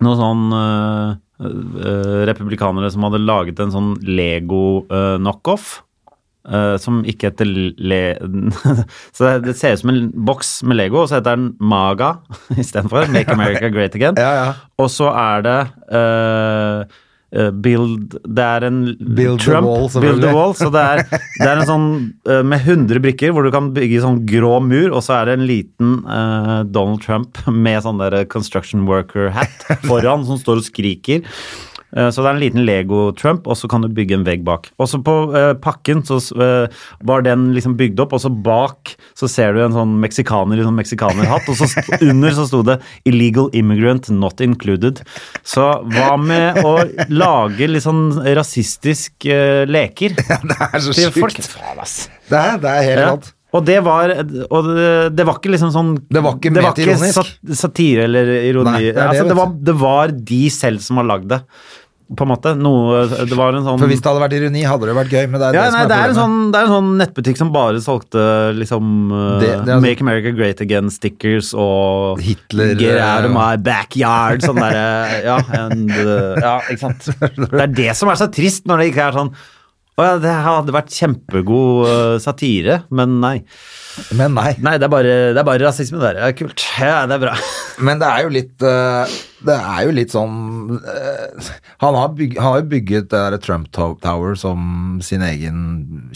Speaker 2: noen sånn eh, eh, republikanere som hadde laget en sånn Lego-knockoff. eh, som ikke heter le... Så det, det ser ut som en boks med Lego, og så heter den Maga istedenfor. Make America Great Again.
Speaker 1: Ja, ja.
Speaker 2: Og så er det eh, eh, Build Det er en
Speaker 1: Build the
Speaker 2: Trump,
Speaker 1: wall,
Speaker 2: Build the
Speaker 1: selvfølgelig.
Speaker 2: wall. Så det er, det er en sånn eh, med 100 brikker hvor du kan bygge sånn grå mur, og så er det en liten eh, Donald Trump med sånn der construction worker-hat foran som står og skriker. Eh, Så det er en liten Lego-Trump, og så kan du bygge en vegg bak. Også på eh, pakken så eh, var den liksom bygd opp, og så bak så ser du en sånn meksikaner i sånn meksikanerhatt, og så st under så sto det 'illegal immigrant not included'. Så hva med å lage litt sånn rasistisk eh, leker?
Speaker 1: Det er så
Speaker 2: til folk?
Speaker 1: sjukt. Det er, det er helt
Speaker 2: Ja.
Speaker 1: rått.
Speaker 2: Og det var Og det, det var ikke liksom sånn
Speaker 1: Det var ikke ment ironisk.
Speaker 2: sat- satire eller ironi.
Speaker 1: Nei, det er det,
Speaker 2: altså,
Speaker 1: vet
Speaker 2: det, var,
Speaker 1: du.
Speaker 2: det var de selv som har lagd det, på en måte. Noe Det var en sånn
Speaker 1: For hvis det hadde vært ironi, hadde det vært gøy. Men det er
Speaker 2: ja,
Speaker 1: det
Speaker 2: nei, det, er
Speaker 1: som er
Speaker 2: en
Speaker 1: problemet.
Speaker 2: sånn, det er en sånn nettbutikk som bare solgte liksom eh,
Speaker 1: Det- det er- altså-
Speaker 2: Make America Great Again-stickers og
Speaker 1: Hitler,
Speaker 2: Get out of
Speaker 1: eh,
Speaker 2: my backyard. Sånn derre ja, and, eh, ja, ikke sant. Det er det som er så trist, når det ikke er sånn Å ja, det hadde vært kjempegod eh, satire, men nei. sånn-
Speaker 1: Men nei.
Speaker 2: Nei, det er bare, det er bare rasisme der. Ja, kult. Ja, det er bra.
Speaker 1: Men det er jo litt eh, Det er jo litt sånn eh, Han har, byg, han har jo bygget det der Trump To- Tower som sin egen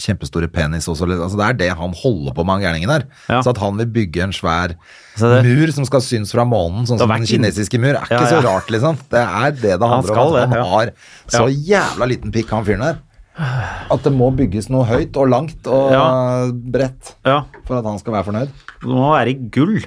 Speaker 1: kjempestore penis også. eller- Altså det er det han holder på med, han gærningen der.
Speaker 2: Ja.
Speaker 1: Så at han vil bygge en svær
Speaker 2: Så det-
Speaker 1: mur som skal synes fra månen, sånn
Speaker 2: Det
Speaker 1: som
Speaker 2: har
Speaker 1: den
Speaker 2: vært inn-
Speaker 1: kinesiske mur, er ikke
Speaker 2: Ja, ja.
Speaker 1: så rart, liksom. Det er det det handler
Speaker 2: skal
Speaker 1: om. At
Speaker 2: det,
Speaker 1: han
Speaker 2: ja.
Speaker 1: har så jævla liten pikk, han fyren der. At det må bygges noe høyt og langt og
Speaker 2: Ja.
Speaker 1: bredt
Speaker 2: Ja,
Speaker 1: for at han skal være fornøyd.
Speaker 2: det må være i gull.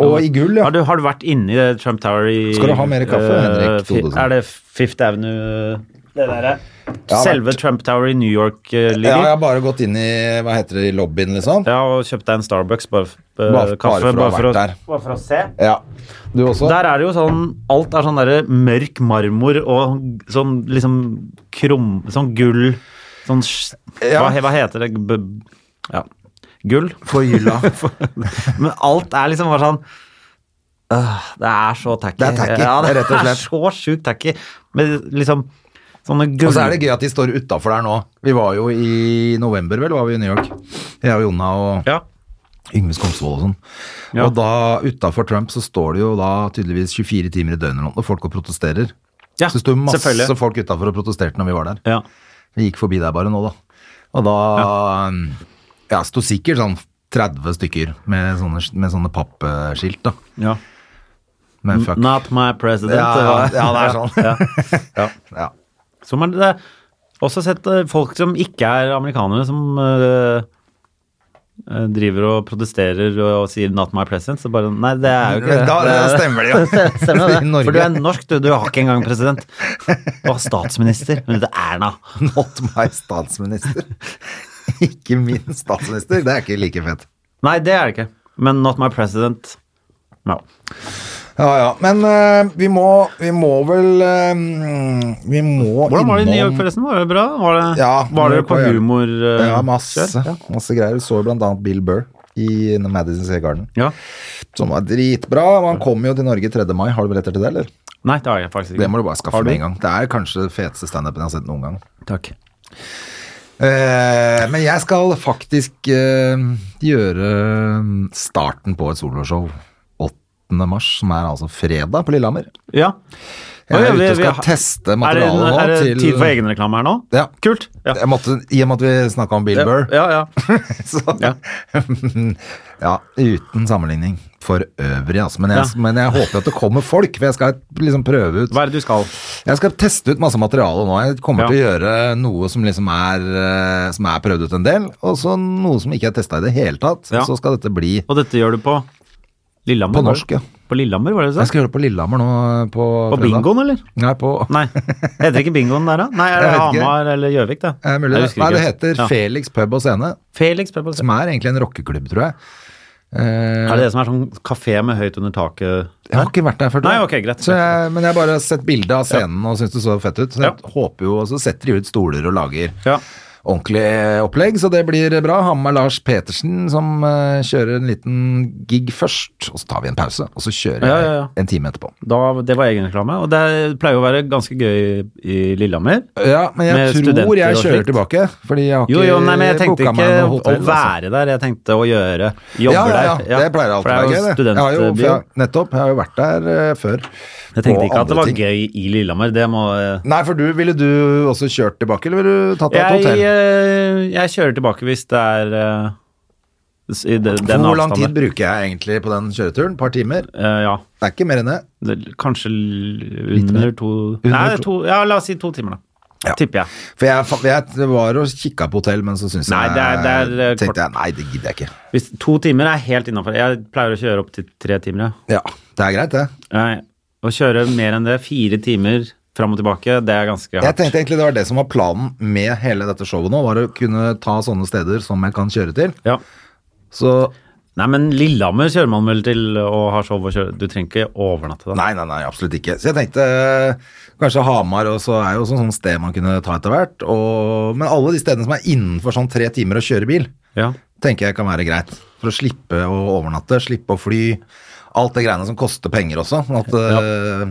Speaker 1: Og i gull, ja.
Speaker 2: Har du, har du vært inni det Trump Tower i
Speaker 1: Skal du ha mer kaffe,
Speaker 2: eh,
Speaker 1: Henrik
Speaker 2: fi-
Speaker 1: Thodesen?
Speaker 2: Er det Fifth Avenue det der,
Speaker 1: Jeg har
Speaker 2: Selve
Speaker 1: vært-
Speaker 2: Trump Tower i New York eh,
Speaker 1: Ja, jeg
Speaker 2: ligger? Ja,
Speaker 1: har bare gått inn i hva heter det, i lobbyen, liksom.
Speaker 2: og kjøpt deg en Starbucks, bare, f- eh,
Speaker 1: Bare- bare
Speaker 2: kaffe,
Speaker 1: for å ha
Speaker 2: bare, for å,
Speaker 1: vært der.
Speaker 2: bare for å se.
Speaker 1: Ja. Du også?
Speaker 2: Der er det jo sånn Alt er sånn derre mørk marmor og sånn liksom krum... Sånn gull Sånn sj-
Speaker 1: Ja.
Speaker 2: hva, hva heter det? B ja. Gull?
Speaker 1: Forgylla.
Speaker 2: Men alt er liksom bare sånn øh, Det er så tacky.
Speaker 1: Det er tacky,
Speaker 2: ja, det
Speaker 1: rett og slett.
Speaker 2: er så sjukt tacky. Med liksom sånne gull...
Speaker 1: Og så er det gøy at de står utafor der nå. Vi var jo i november, vel, var vi i New York. Jeg og Jonna og
Speaker 2: Ja.
Speaker 1: Yngve Skomsvold og sånn.
Speaker 2: Ja.
Speaker 1: Og da utafor Trump så står det jo da tydeligvis 24 timer i døgnet eller noe, og folk og protesterer.
Speaker 2: Ja,
Speaker 1: så det sto masse
Speaker 2: selvfølgelig.
Speaker 1: folk utafor og protesterte når vi var der.
Speaker 2: ja.
Speaker 1: Vi gikk forbi der bare nå, da. Og da um, Ja, sto sikkert sånn 30 stykker med sånne, med sånne pappskilt, da.
Speaker 2: ja.
Speaker 1: Med fuck.
Speaker 2: Not my president.
Speaker 1: Ja,
Speaker 2: det var-
Speaker 1: ja, det er sånn.
Speaker 2: Ja, ja.
Speaker 1: Ja.
Speaker 2: Som er det også sett eh, folk som ikke er amerikanere, som eh, eh, driver og protesterer og, og sier 'not my president'. Så bare Nei, det er jo ikke det.
Speaker 1: Da- da stemmer det jo.
Speaker 2: stemmer
Speaker 1: I
Speaker 2: det.
Speaker 1: Norge.
Speaker 2: For du er norsk, du. Du har ikke engang president. Du har statsminister. Hun heter Erna.
Speaker 1: Not my statsminister. ikke min statsminister. Det er ikke like fett.
Speaker 2: Nei, det er det ikke. Men not my president. No.
Speaker 1: Ja, ja. Men eh, vi, må, vi må vel eh, Vi må
Speaker 2: Hvordan var det i New York,
Speaker 1: innom-
Speaker 2: forresten? Var det bra? Var det,
Speaker 1: Ja,
Speaker 2: var det
Speaker 1: New York
Speaker 2: på
Speaker 1: var jævlig-
Speaker 2: humor? eh,
Speaker 1: Ja, masse,
Speaker 2: kjør? Ja.
Speaker 1: masse greier. Vi så jo blant annet Bill Burr i Madison Square Garden,
Speaker 2: ja.
Speaker 1: som var dritbra. Han kom jo til Norge 3. mai. Har du billetter til det, eller?
Speaker 2: Nei, det har jeg faktisk ikke.
Speaker 1: Det må du bare skaffe
Speaker 2: Har
Speaker 1: med en gang. Det er kanskje det feteste standupen jeg har sett noen gang.
Speaker 2: Takk.
Speaker 1: Eh, men jeg skal faktisk eh, gjøre mm, starten på et soloshow 8. mars, som er altså fredag på Lillehammer.
Speaker 2: Ja.
Speaker 1: Jeg
Speaker 2: Oi,
Speaker 1: er
Speaker 2: vi-
Speaker 1: ute og
Speaker 2: vi
Speaker 1: skal
Speaker 2: har-
Speaker 1: teste
Speaker 2: Er det,
Speaker 1: materialet nå
Speaker 2: er det
Speaker 1: til
Speaker 2: tid for egenreklame her nå?
Speaker 1: Ja.
Speaker 2: Kult. Ja.
Speaker 1: Jeg måtte, I og med at vi snakka om Bill Burr,
Speaker 2: Ja, ja.
Speaker 1: så ja.
Speaker 2: Ja.
Speaker 1: Uten sammenligning for øvrig, altså. Men jeg,
Speaker 2: Ja.
Speaker 1: men jeg håper at det kommer folk, for jeg skal liksom prøve ut
Speaker 2: Hva er det du skal?
Speaker 1: Jeg skal teste ut masse materiale nå. Jeg kommer
Speaker 2: Ja.
Speaker 1: til å gjøre noe som liksom er eh, Som er prøvd ut en del, og så noe som ikke er testa i det hele tatt.
Speaker 2: Ja.
Speaker 1: Så skal dette bli
Speaker 2: Og dette gjør du på Lillehammer?
Speaker 1: På
Speaker 2: var det?
Speaker 1: norsk, ja.
Speaker 2: På Lillehammer, var det du sa?
Speaker 1: Jeg skal gjøre det på Lillehammer nå eh, på
Speaker 2: På
Speaker 1: fredag.
Speaker 2: bingoen, eller?
Speaker 1: Nei, på
Speaker 2: Nei. Heter ikke bingoen der, da? Nei, er det
Speaker 1: Jeg vet ikke.
Speaker 2: Hamar eller Gjøvik, da?
Speaker 1: Eh, mulig,
Speaker 2: Jeg
Speaker 1: det.
Speaker 2: husker
Speaker 1: Nei, det
Speaker 2: ikke.
Speaker 1: heter
Speaker 2: Ja.
Speaker 1: Felix pub og scene,
Speaker 2: Felix Pepper.
Speaker 1: som er egentlig en rockeklubb, tror jeg. Eh,
Speaker 2: Er det det som er sånn kafé med høyt under taket?
Speaker 1: Jeg har ikke vært der før. tror
Speaker 2: Nei,
Speaker 1: jeg.
Speaker 2: ok, greit.
Speaker 1: Så jeg, men jeg har bare sett bilde av scenen og syns det så fett ut. Så jeg håper jo, og så setter de ut stoler og lager
Speaker 2: Ja.
Speaker 1: ordentlig eh, opplegg, så det blir bra. Ha med Lars Petersen som eh, kjører en liten gig først, og så tar vi en pause, og så kjører
Speaker 2: Ja,
Speaker 1: jeg
Speaker 2: ja, ja.
Speaker 1: en time etterpå.
Speaker 2: Da, det var egenreklame, og det pleier jo å være ganske gøy i Lillehammer.
Speaker 1: Ja, men
Speaker 2: Med
Speaker 1: jeg
Speaker 2: studenter og
Speaker 1: tror jeg kjører
Speaker 2: slikt.
Speaker 1: tilbake, fordi jeg har
Speaker 2: Jo, jo, nei, men jeg
Speaker 1: ikke
Speaker 2: tenkte
Speaker 1: booka
Speaker 2: ikke
Speaker 1: meg noe
Speaker 2: å
Speaker 1: hotell. altså.
Speaker 2: være der, jeg tenkte å gjøre jobber
Speaker 1: ja, ja, ja,
Speaker 2: der.
Speaker 1: det pleier alltid å være gøy, det.
Speaker 2: For det
Speaker 1: Jeg
Speaker 2: er
Speaker 1: har
Speaker 2: jo
Speaker 1: jo, for
Speaker 2: studentby.
Speaker 1: jeg, nettopp, jeg har jo vært der eh, før.
Speaker 2: Jeg tenkte
Speaker 1: på
Speaker 2: ikke at
Speaker 1: andre
Speaker 2: det var
Speaker 1: ting.
Speaker 2: gøy i Lillehammer, det må eh,
Speaker 1: Nei, for du, ville du også kjørt tilbake, eller ville du tatt deg et
Speaker 2: jeg,
Speaker 1: hotell?
Speaker 2: eh, jeg kjører tilbake hvis det er eh, s- i de- den
Speaker 1: Hvor lang tid
Speaker 2: avstanden.
Speaker 1: bruker jeg egentlig på den kjøreturen? Et par timer?
Speaker 2: Eh, ja.
Speaker 1: Det er ikke mer enn det.
Speaker 2: Det- Kanskje l- under to Nei,
Speaker 1: to.
Speaker 2: to, ja, la oss si to timer, da.
Speaker 1: Ja.
Speaker 2: Tipper jeg.
Speaker 1: For jeg, fa- jeg var og kikka på hotell, men så syns jeg
Speaker 2: Nei, det er- det er, eh, kort.
Speaker 1: Tenkte jeg, nei, det gidder jeg ikke.
Speaker 2: Hvis to timer er helt innafor. Jeg pleier å kjøre opp til tre timer.
Speaker 1: Ja, Det er greit, det.
Speaker 2: Ja. Nei, Å kjøre mer enn det, fire timer fram og tilbake, det er ganske
Speaker 1: Jeg
Speaker 2: hardt.
Speaker 1: tenkte egentlig det var det som var planen med hele dette showet nå, var å kunne ta sånne steder som jeg kan kjøre til.
Speaker 2: Ja.
Speaker 1: Så
Speaker 2: Nei, men Lillehammer kjører man vel til og har show og kjører Du trenger ikke overnatte da.
Speaker 1: Nei, nei, nei, absolutt ikke. Så jeg tenkte eh, kanskje Hamar også er jo også sånn sted man kunne ta etter hvert. Og, men alle de stedene som er innenfor sånn tre timer å kjøre bil,
Speaker 2: Ja.
Speaker 1: tenker jeg kan være greit. For å slippe å overnatte, slippe å fly. Alt det greiene som koster penger også. sånn At, eh,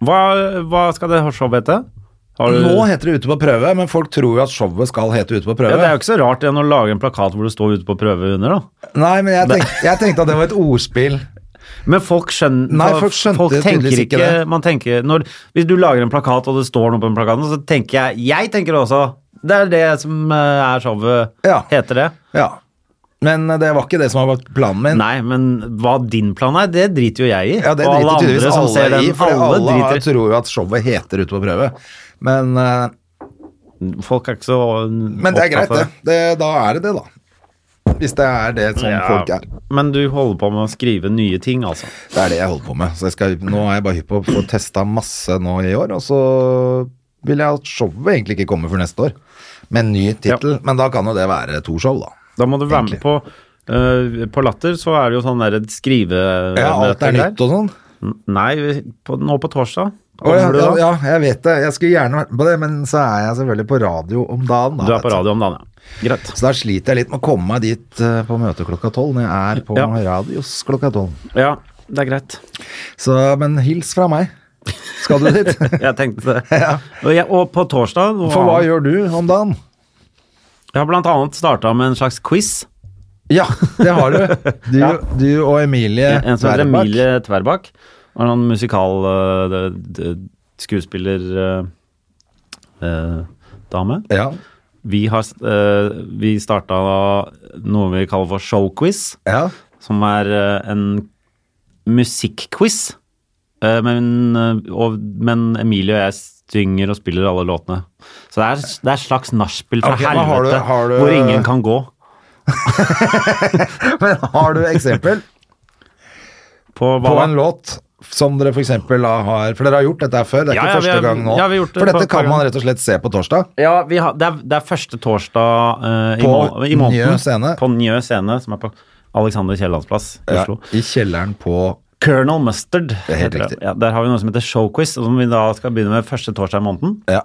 Speaker 2: Hva, hva skal det showet hete? Har du-
Speaker 1: Nå heter det Ute på prøve, men folk tror jo at showet skal hete Ute på prøve.
Speaker 2: ja, det er jo ikke så rart igjen å lage en plakat hvor det står ute på prøve under, da.
Speaker 1: Nei, men jeg tenkte, jeg tenkte at det var et ordspill.
Speaker 2: Men folk skjønner
Speaker 1: Nei, folk
Speaker 2: tenker
Speaker 1: skjønte tydeligvis ikke det.
Speaker 2: Man tenker, når, hvis du lager en plakat, og det står noe på den plakaten, så tenker jeg Jeg tenker det også. Det er det som eh, er showet.
Speaker 1: Ja.
Speaker 2: Heter det.
Speaker 1: Ja. Men eh, det var ikke det som var planen min.
Speaker 2: Nei, men hva din plan er, det driter jo jeg i.
Speaker 1: Ja, det
Speaker 2: og
Speaker 1: driter
Speaker 2: alle
Speaker 1: tydeligvis
Speaker 2: andre som
Speaker 1: alle
Speaker 2: ser den.
Speaker 1: i, for alle, har-
Speaker 2: driter
Speaker 1: tror jo at showet heter Ute på prøve. Men, eh,
Speaker 2: Folk er ikke så
Speaker 1: men det er greit,
Speaker 2: opptatt av
Speaker 1: det. det. Da er det det, da. Hvis det er det som
Speaker 2: Ja.
Speaker 1: folk er.
Speaker 2: Men du holder på med å skrive nye ting, altså.
Speaker 1: Det er det jeg holder på med. Så jeg skal, nå er jeg bare hypp på å få testa masse nå i år, og så vil jeg at showet egentlig ikke kommer før neste år. Med en ny tittel. Men da kan jo det være to show, da.
Speaker 2: Da må du være
Speaker 1: Egentlig.
Speaker 2: med på eh, På Latter så er det jo sånn der et skrive...
Speaker 1: Ja, alt er
Speaker 2: der.
Speaker 1: nytt og sånn.
Speaker 2: N- Nei, på, nå på torsdag.
Speaker 1: Å, ja,
Speaker 2: Kommer du
Speaker 1: ja,
Speaker 2: da?
Speaker 1: ja, jeg vet det. Jeg skulle gjerne vært med på det, men så er jeg selvfølgelig på radio om dagen. Da,
Speaker 2: Du er på
Speaker 1: vet
Speaker 2: radio om dagen, ja. Greit.
Speaker 1: Så da sliter jeg litt med å komme meg dit eh, på møte klokka tolv, når jeg er på
Speaker 2: Ja.
Speaker 1: radios klokka tolv.
Speaker 2: Ja, det er greit.
Speaker 1: Så, men hils fra meg. Skal du dit?
Speaker 2: Jeg tenkte det. og, jeg, og på torsdag og,
Speaker 1: For hva gjør du om dagen?
Speaker 2: Jeg har blant annet starta med en slags quiz.
Speaker 1: Ja, det har du. Du, du og Emilie
Speaker 2: En som heter
Speaker 1: Tverbakk.
Speaker 2: Emilie Tverbakk. Var en sånn musikal øh, det- det- skuespiller øh, øh, dame.
Speaker 1: Ja,
Speaker 2: Vi har øh, vi starta noe vi kaller for showquiz,
Speaker 1: ja.
Speaker 2: som er øh, en musikkquiz. Eh, Men, øh, og, men Emilie og jeg synger og spiller alle låtene. Så det er, det er et slags nachspiel fra
Speaker 1: Ok, men
Speaker 2: helvete
Speaker 1: har du- har du-
Speaker 2: hvor ingen kan gå.
Speaker 1: Men har du eksempel
Speaker 2: På, hva
Speaker 1: på
Speaker 2: da?
Speaker 1: en låt som dere f.eks. har For dere har gjort dette her før, det er
Speaker 2: Ja, ja,
Speaker 1: ikke
Speaker 2: vi
Speaker 1: første
Speaker 2: har-
Speaker 1: gang nå.
Speaker 2: ja, vi har gjort det
Speaker 1: for
Speaker 2: et
Speaker 1: dette
Speaker 2: par
Speaker 1: kan man
Speaker 2: ganger.
Speaker 1: rett og slett se på torsdag.
Speaker 2: Ja, vi har, det, er, det er første torsdag eh, i,
Speaker 1: På
Speaker 2: må, i måneden.
Speaker 1: Njø scene.
Speaker 2: På Njø scene, som er på Alexander Kiellands plass i
Speaker 1: Ja,
Speaker 2: Oslo.
Speaker 1: I kjelleren på
Speaker 2: Colonel Mustard.
Speaker 1: er helt
Speaker 2: heter det.
Speaker 1: riktig.
Speaker 2: Ja, der har vi noe som heter showquiz, som vi da skal begynne med første torsdag i måneden.
Speaker 1: Ja,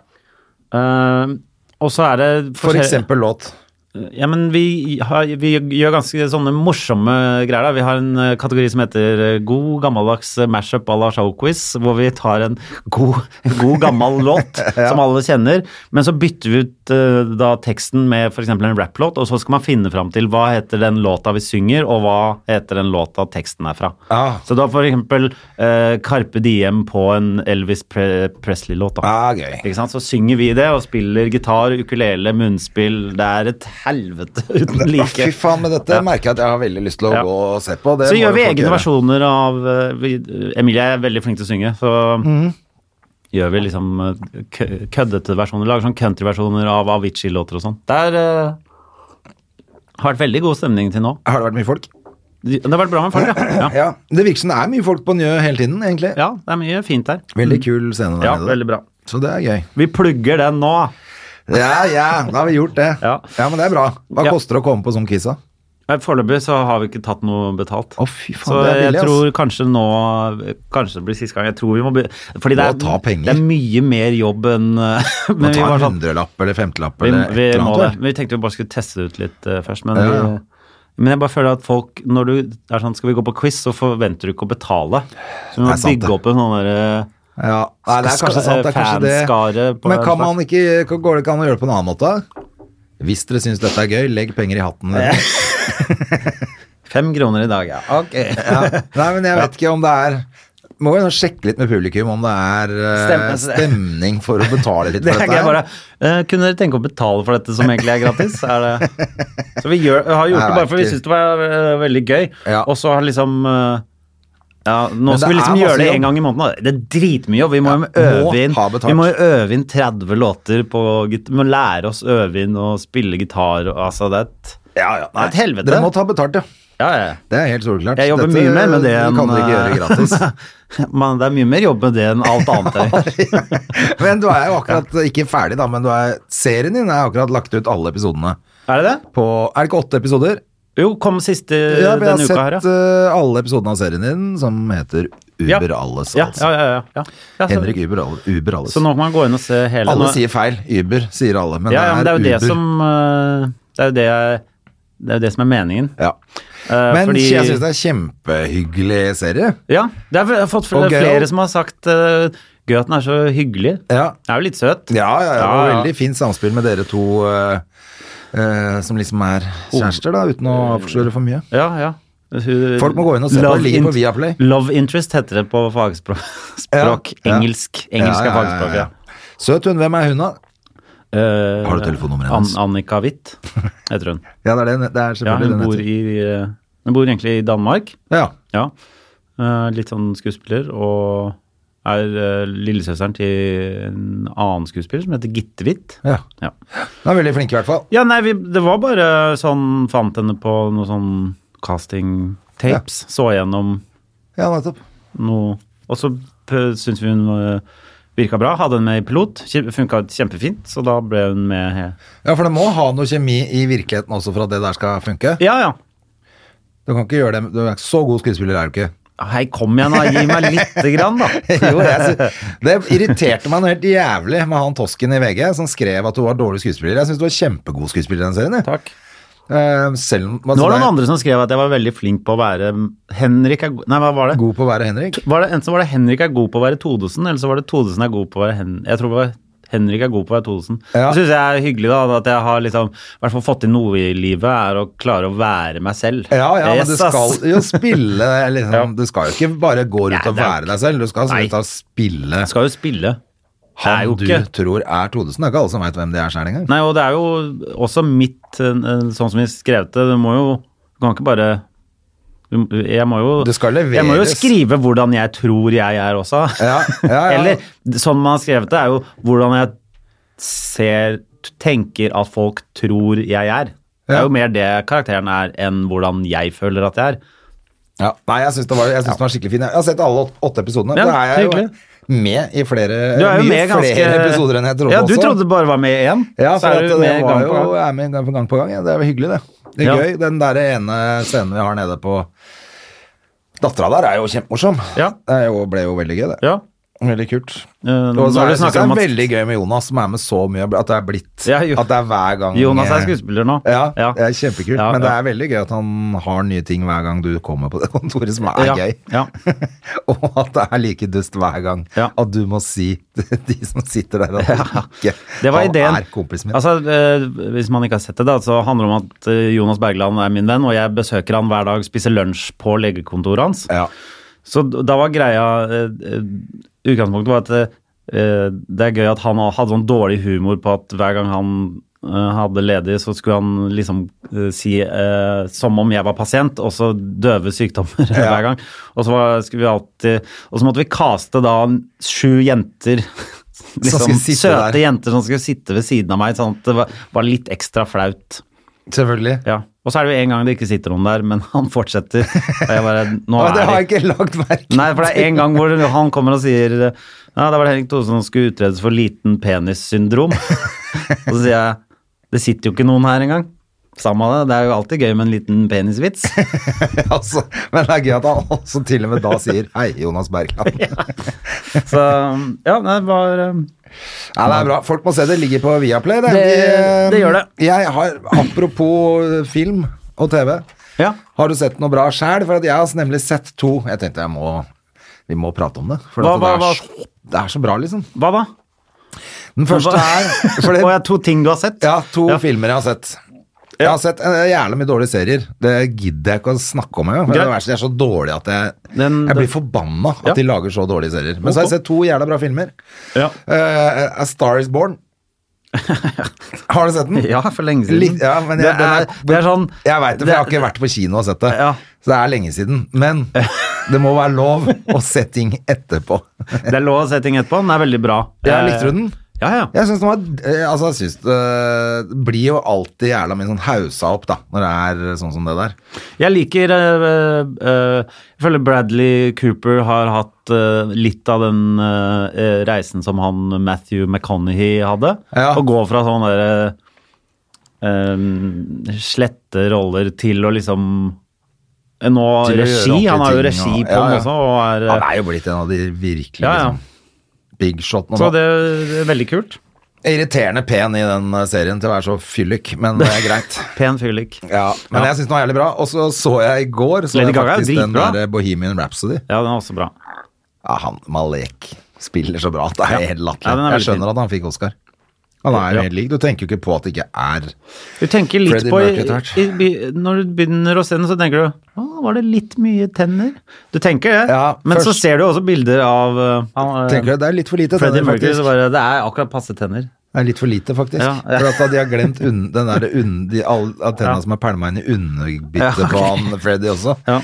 Speaker 2: Eh, og så er det
Speaker 1: for
Speaker 2: forskjell-
Speaker 1: eksempel låt.
Speaker 2: Eh, Ja, men vi, har, vi gjør ganske sånne morsomme greier. da. Vi har en eh, kategori som heter eh, god gammeldags eh, mashup à la showquiz, hvor vi tar en god, en god gammel låt som alle kjenner, men så bytter vi ut eh, da teksten med f.eks. en rapplåt, og så skal man finne fram til hva heter den låta vi synger, og hva heter den låta teksten er fra.
Speaker 1: Ah.
Speaker 2: Så da f.eks. Eh, Carpe Diem på en Elvis Pre Presley-låt. da.
Speaker 1: Ah, gøy.
Speaker 2: Ikke sant? Så synger vi det og spiller gitar, ukulele, munnspill. Det er et helvete uten
Speaker 1: Å,
Speaker 2: like.
Speaker 1: Fy faen, med dette merker jeg at jeg har veldig lyst til å
Speaker 2: Ja.
Speaker 1: gå og se på. Det
Speaker 2: Så
Speaker 1: må
Speaker 2: gjør vi
Speaker 1: folk
Speaker 2: egne
Speaker 1: gjøre.
Speaker 2: versjoner av eh, vi, Emilie er veldig flink til å synge, så
Speaker 1: Mhm.
Speaker 2: gjør vi liksom eh, kø- køddete versjoner. Lager sånn countryversjoner av Avicii-låter og sånn. Det er, eh, har vært veldig god stemning til nå.
Speaker 1: Har det vært mye folk?
Speaker 2: Det har vært bra med folk, ja. ja.
Speaker 1: Ja. Det virker som det er mye folk på Njø hele tiden, egentlig.
Speaker 2: Ja, det er mye fint der.
Speaker 1: Veldig kul scene der
Speaker 2: Ja,
Speaker 1: nede.
Speaker 2: veldig bra.
Speaker 1: Så det er gøy.
Speaker 2: Vi plugger den nå.
Speaker 1: Ja, ja, da har vi gjort det.
Speaker 2: Ja.
Speaker 1: men det er bra. Hva
Speaker 2: Ja.
Speaker 1: koster det å komme på sånn kisa?
Speaker 2: Nei, Foreløpig så har vi ikke tatt noe betalt.
Speaker 1: Å, fy faen,
Speaker 2: så
Speaker 1: det er billig,
Speaker 2: jeg
Speaker 1: ass.
Speaker 2: tror kanskje nå Kanskje det blir siste gang. Jeg tror vi må be, Fordi det
Speaker 1: Må
Speaker 2: er,
Speaker 1: ta penger.
Speaker 2: det er mye mer jobb enn
Speaker 1: Må
Speaker 2: Men vi
Speaker 1: ta
Speaker 2: var
Speaker 1: en
Speaker 2: sånn
Speaker 1: hundrelapp eller femtelapp
Speaker 2: vi,
Speaker 1: eller et
Speaker 2: vi
Speaker 1: eller
Speaker 2: må det.
Speaker 1: annet. vel?
Speaker 2: Vi tenkte vi bare skulle teste det ut litt eh, først, men
Speaker 1: Ja.
Speaker 2: vi- men jeg bare føler at folk, når du er sånn, skal vi gå på quiz, så forventer du ikke å betale. Så vi må
Speaker 1: Det er sant,
Speaker 2: bygge
Speaker 1: det.
Speaker 2: opp en sånn derre
Speaker 1: Ja. Nei, det er
Speaker 2: Skal-
Speaker 1: kanskje sant. Det er kanskje det.
Speaker 2: fanskare på
Speaker 1: Men
Speaker 2: en
Speaker 1: kan
Speaker 2: slags-
Speaker 1: man ikke, kan- går det ikke an å gjøre det på en annen måte? Hvis dere syns dette er gøy, legg penger i hatten.
Speaker 2: Fem kroner i dag, ja. Ok.
Speaker 1: Ja. Nei, men jeg vet ikke om det er Må jo sjekke litt med publikum om det er eh, stemning for å betale litt
Speaker 2: Det
Speaker 1: for
Speaker 2: er
Speaker 1: dette.
Speaker 2: ikke jeg
Speaker 1: her.
Speaker 2: bare eh, Kunne dere tenke å betale for dette som egentlig er gratis? Er det? Så vi gjør, har gjort
Speaker 1: Jeg
Speaker 2: det bare for vi
Speaker 1: vet
Speaker 2: syns det var eh, veldig gøy.
Speaker 1: Ja.
Speaker 2: Og så har liksom eh, ja, Nå
Speaker 1: Men
Speaker 2: skal
Speaker 1: det
Speaker 2: vi liksom
Speaker 1: er masse
Speaker 2: gjøre det
Speaker 1: jobb.
Speaker 2: én gang i måneden. Det er dritmye jobb. Vi må, jo
Speaker 1: må
Speaker 2: øve inn,
Speaker 1: ha betalt.
Speaker 2: vi må jo øve inn 30 låter på git- Vi må lære oss å øve inn og spille gitar og altså Det er et,
Speaker 1: Ja, ja,
Speaker 2: det er et helvete.
Speaker 1: Dere må ta betalt, ja.
Speaker 2: ja, ja.
Speaker 1: Det er helt soleklart.
Speaker 2: Jeg jobber
Speaker 1: Dette
Speaker 2: mye mer med det enn eh,
Speaker 1: kan dere ikke gjøre gratis.
Speaker 2: Men det er mye mer jobb med det enn alt annet. jeg gjør.
Speaker 1: Men du er jo akkurat ikke ferdig, da, men du er, serien din er akkurat lagt ut alle episodene.
Speaker 2: Er det det?
Speaker 1: På, er det ikke åtte episoder?
Speaker 2: Jo, kom siste
Speaker 1: Ja, vi har
Speaker 2: denne
Speaker 1: sett
Speaker 2: uka her, ja.
Speaker 1: eh, alle episodene av serien din, som heter
Speaker 2: Ja.
Speaker 1: Uber Alles.
Speaker 2: Ja,
Speaker 1: altså.
Speaker 2: ja, ja, ja, ja. ja så-
Speaker 1: Henrik Uber, Alle- Uber Alles.
Speaker 2: Så nå kan man gå inn og se hele
Speaker 1: alle
Speaker 2: nå-
Speaker 1: sier feil. Uber sier alle, men,
Speaker 2: ja, ja, men det er jo
Speaker 1: Uber.
Speaker 2: det som eh, Det er jo det, jeg- det, er jo det som er meningen.
Speaker 1: ja.
Speaker 2: Eh,
Speaker 1: Men
Speaker 2: fordi-
Speaker 1: jeg syns det er kjempehyggelig serie.
Speaker 2: Ja, det er, jeg har fått flere,
Speaker 1: Og gøy
Speaker 2: flere
Speaker 1: også.
Speaker 2: som har sagt eh, Gøy at den er så hyggelig.
Speaker 1: Ja,
Speaker 2: Den er jo litt søt.
Speaker 1: ja, ja, ja.
Speaker 2: Ja, ja.
Speaker 1: Veldig fint samspill med dere to eh, eh, som liksom er
Speaker 2: Oh.
Speaker 1: kjærester, da, uten å
Speaker 2: Eh,
Speaker 1: avsløre for mye.
Speaker 2: Ja, ja. Hun-
Speaker 1: Folk må gå inn og se på,
Speaker 2: Love
Speaker 1: det ligger på
Speaker 2: int-
Speaker 1: Viaplay.
Speaker 2: Love interest heter det på fagspråk. Språk,
Speaker 1: Ja, ja.
Speaker 2: Engelsk. Engelsk er
Speaker 1: Ja, ja, ja, ja.
Speaker 2: fagspråket. Ja,
Speaker 1: Søt hun, hvem er hun, da?
Speaker 2: Eh,
Speaker 1: Har du telefonnummeret hennes?
Speaker 2: An Annika Witt heter hun.
Speaker 1: Ja, det er, den, det er
Speaker 2: Ja,
Speaker 1: selvfølgelig
Speaker 2: hun,
Speaker 1: den
Speaker 2: bor
Speaker 1: heter.
Speaker 2: i, eh, hun bor egentlig i Danmark.
Speaker 1: Ja.
Speaker 2: Ja. Eh, litt sånn skuespiller, og er eh, lillesøsteren til en annen skuespiller som heter Gitte Hvitt.
Speaker 1: ja.
Speaker 2: Ja.
Speaker 1: Hun er veldig flink, i hvert fall.
Speaker 2: ja, nei, vi, det var bare sånn Fant henne på noe sånn casting tapes. Så gjennom
Speaker 1: Ja, nettopp.
Speaker 2: noe Og så p- syntes vi hun eh, virka bra. Hadde henne med i pilot. Funka kjempefint, så da ble hun med. he-
Speaker 1: Ja, for det må ha noe kjemi i virkeligheten også for at det der skal funke.
Speaker 2: Ja, ja.
Speaker 1: Du kan ikke gjøre det, du er ikke så god skuespiller er du ikke.
Speaker 2: Hei, kom igjen, da. Gi meg lite grann, da.
Speaker 1: Jo, jeg sy- det irriterte meg noe helt jævlig med han tosken i VG som skrev at du var dårlig skuespiller. Jeg syns du var kjempegod skuespiller i den serien. jeg.
Speaker 2: Takk.
Speaker 1: Eh, selv om altså,
Speaker 2: Nå var det
Speaker 1: det
Speaker 2: noen andre som skrev at jeg var veldig flink på å være Henrik er go- Nei, hva var det?
Speaker 1: er god på å være Henrik.
Speaker 2: var det, enten så var det Henrik er god på å være Todesen, eller så var det Todesen er god på å være Hen Jeg tror det var Henrik er god på å være Todesen.
Speaker 1: Ja.
Speaker 2: Det syns jeg er hyggelig, da. At jeg har liksom, i hvert fall fått til noe i livet, er å klare å være meg selv.
Speaker 1: Ja, ja, men
Speaker 2: Yes,
Speaker 1: du
Speaker 2: ass.
Speaker 1: skal jo spille liksom,
Speaker 2: Ja.
Speaker 1: Du skal jo ikke bare gå rundt
Speaker 2: Nei,
Speaker 1: og
Speaker 2: det er-
Speaker 1: være deg selv, du skal altså
Speaker 2: Nei.
Speaker 1: ut og spille
Speaker 2: Skal jo spille. Det er
Speaker 1: han
Speaker 2: jo
Speaker 1: du
Speaker 2: ikke
Speaker 1: tror er Todesen. Det er ikke alle som veit hvem det er sjøl engang.
Speaker 2: Nei, og det er jo også mitt eh, eh, Sånn som vi skrev det, det må jo Du kan ikke bare du- jeg må, jo,
Speaker 1: Det skal leveres.
Speaker 2: jeg må jo skrive hvordan jeg tror jeg er også.
Speaker 1: Ja, ja, ja.
Speaker 2: Eller sånn man har skrevet det, er jo hvordan jeg ser Tenker at folk tror jeg er. Det er
Speaker 1: Ja.
Speaker 2: jo mer det karakteren er, enn hvordan jeg føler at jeg er.
Speaker 1: Ja. Nei, jeg syns den var, jeg synes den var skikkelig fin. Jeg har sett alle åt- åtte episodene.
Speaker 2: Ja,
Speaker 1: da er jeg
Speaker 2: hyggelig.
Speaker 1: jo med i flere,
Speaker 2: Du er jo
Speaker 1: Eh, mye
Speaker 2: med ganske
Speaker 1: flere episoder enn jeg trodde
Speaker 2: Ja, du
Speaker 1: også.
Speaker 2: trodde det bare var med i én.
Speaker 1: ja,
Speaker 2: så
Speaker 1: for
Speaker 2: er
Speaker 1: at
Speaker 2: du
Speaker 1: det
Speaker 2: med
Speaker 1: var
Speaker 2: gang på
Speaker 1: jo,
Speaker 2: gang.
Speaker 1: jeg er med gang på gang på gang. Ja. Det er jo hyggelig, det. Det er
Speaker 2: Ja.
Speaker 1: gøy. Den der ene scenen vi har nede på Dattera der er jo kjempemorsom.
Speaker 2: Ja.
Speaker 1: Det er jo, ble jo veldig gøy, det.
Speaker 2: Ja.
Speaker 1: Veldig kult.
Speaker 2: Eh,
Speaker 1: Og
Speaker 2: når
Speaker 1: så er
Speaker 2: du
Speaker 1: det, synes
Speaker 2: snakker
Speaker 1: jeg
Speaker 2: om at-
Speaker 1: det er veldig gøy med Jonas, som er med så mye, at det er blitt
Speaker 2: Ja, jo-
Speaker 1: At det er hver gang
Speaker 2: Jonas er skuespiller nå.
Speaker 1: Ja,
Speaker 2: Ja.
Speaker 1: det er kjempekult.
Speaker 2: Ja,
Speaker 1: men det
Speaker 2: ja.
Speaker 1: er veldig gøy at han har nye ting hver gang du kommer på det kontoret, som er
Speaker 2: ja,
Speaker 1: gøy.
Speaker 2: Ja.
Speaker 1: Og at det er like dust hver gang.
Speaker 2: Ja.
Speaker 1: At du må si til de som sitter der, at du ikke
Speaker 2: Det var
Speaker 1: han
Speaker 2: ideen.
Speaker 1: er kompisen min.
Speaker 2: Altså, eh, hvis man ikke har sett det, da, så handler det om at eh, Jonas Bergland er min venn, og jeg besøker han hver dag, spiser lunsj på legekontoret hans.
Speaker 1: ja.
Speaker 2: Så d- da var greia eh, eh, Utgangspunktet var at eh, det er gøy at han hadde sånn dårlig humor på at hver gang han eh, hadde ledig, så skulle han liksom eh, si eh, som om jeg var pasient, og så døve sykdommer hver gang. Og så, var, skulle vi alltid, og så måtte vi kaste da sju jenter. Liksom,
Speaker 1: skulle sitte
Speaker 2: søte
Speaker 1: der.
Speaker 2: jenter som skulle sitte ved siden av meg, sånn at det var, var litt ekstra flaut.
Speaker 1: Selvfølgelig.
Speaker 2: Ja. Og så er det jo en gang det ikke sitter noen der, men han fortsetter. Og jeg bare, nå
Speaker 1: Og
Speaker 2: er
Speaker 1: det har
Speaker 2: det
Speaker 1: jeg ikke lagt merke
Speaker 2: Nei, for det er en gang hvor han kommer og sier eh, Ja, det var det Henrik Thoresen som skulle utredes for liten penissyndrom. Og så sier jeg det sitter jo ikke noen her engang. Samme av det, det er jo alltid gøy med en liten penisvits.
Speaker 1: altså. Men det er gøy at han også til og med da sier 'hei, Jonas Bergland'.
Speaker 2: Så ja, det var eh,
Speaker 1: Ja, det er bra. Folk må se det. Ligger på Viaplay. Det, eh,
Speaker 2: Det- det gjør det.
Speaker 1: Jeg har, apropos film og TV,
Speaker 2: Ja.
Speaker 1: har du sett noe bra sjæl? For at jeg har nemlig sett to. Jeg tenkte jeg må, vi må prate om det. For
Speaker 2: Hva-
Speaker 1: at
Speaker 2: hva- hva-
Speaker 1: det, er så, det er så bra, liksom.
Speaker 2: Hva da?
Speaker 1: Den første er for det,
Speaker 2: Å ja, to ting du har sett?
Speaker 1: Ja, to
Speaker 2: Ja.
Speaker 1: filmer jeg har sett. Jeg har sett eh, jævlig mye dårlige serier. Det gidder jeg ikke å snakke om engang. for
Speaker 2: Greit.
Speaker 1: Det verste er så dårlig at jeg,
Speaker 2: Den-
Speaker 1: jeg
Speaker 2: den-
Speaker 1: blir forbanna at
Speaker 2: Ja.
Speaker 1: de lager så dårlige serier. Men så har
Speaker 2: Ok.
Speaker 1: jeg sett to jævla bra filmer.
Speaker 2: Ja.
Speaker 1: Eh, A Star Is Born. Har du sett den?
Speaker 2: Ja, for lenge siden.
Speaker 1: Litt, ja, men jeg,
Speaker 2: det, er, det er sånn
Speaker 1: Jeg veit det, for jeg har
Speaker 2: det-
Speaker 1: ikke vært på kino og sett det.
Speaker 2: Ja.
Speaker 1: Så det er lenge siden. Men det må være lov å se ting etterpå.
Speaker 2: Det er lov å se ting etterpå. Den er veldig bra.
Speaker 1: Ja,
Speaker 2: Eh,
Speaker 1: likte du den?
Speaker 2: Ja, ja.
Speaker 1: Jeg syns den var eh, Altså, jeg syns det blir jo alltid jævla mye sånn hausa opp, da, når det er sånn som det der.
Speaker 2: Jeg liker eh, eh, Jeg føler Bradley Cooper har hatt eh, litt av den eh, eh, reisen som han Matthew McConaughey hadde.
Speaker 1: Ja.
Speaker 2: Å gå fra sånne derre eh, slette roller til å liksom eh, Nå
Speaker 1: Til å gjøre
Speaker 2: regi.
Speaker 1: ordentlige
Speaker 2: Han har jo
Speaker 1: ting,
Speaker 2: regi
Speaker 1: og-
Speaker 2: på
Speaker 1: ja,
Speaker 2: den
Speaker 1: ja.
Speaker 2: også, og er eh,
Speaker 1: Han er jo blitt en av de virkelig
Speaker 2: Ja, ja.
Speaker 1: Liksom, big shot.
Speaker 2: Så
Speaker 1: nå.
Speaker 2: det er veldig kult.
Speaker 1: Irriterende pen i den eh, serien til å være så fyllik, men det er greit.
Speaker 2: Pen fyrlik.
Speaker 1: Ja, men jeg syns den var jævlig bra. Og så så jeg i går så
Speaker 2: Lady
Speaker 1: jeg
Speaker 2: Gaga er
Speaker 1: faktisk den
Speaker 2: dritbra.
Speaker 1: der Bohemian Rhapsody.
Speaker 2: Ja, den er også bra.
Speaker 1: Ja, han Malek spiller så bra at det er helt
Speaker 2: Ja,
Speaker 1: latterlig.
Speaker 2: den er
Speaker 1: jeg
Speaker 2: veldig
Speaker 1: skjønner at han fikk Oscar. Han er jo
Speaker 2: Ja.
Speaker 1: helt lik. Du tenker jo ikke på at det ikke er
Speaker 2: Du tenker litt
Speaker 1: Freddie
Speaker 2: på
Speaker 1: Mercury etter hvert.
Speaker 2: i, i, Når du begynner å se den, så tenker du Å, var det litt mye tenner? Du tenker det,
Speaker 1: Ja,
Speaker 2: men så
Speaker 1: først-
Speaker 2: ser du også bilder av uh, han,
Speaker 1: Tenker du det er litt for lite?
Speaker 2: uh, Freddie
Speaker 1: tenner,
Speaker 2: Mercury.
Speaker 1: faktisk.
Speaker 2: Så bare, det er akkurat passe tenner.
Speaker 1: Det er litt for lite, faktisk.
Speaker 2: Ja, ja.
Speaker 1: For at da de har glemt unn, den der unn, de, all, at tennene som er pælma inn i underbittet
Speaker 2: Ja, ok.
Speaker 1: på han Freddy også.
Speaker 2: Ja.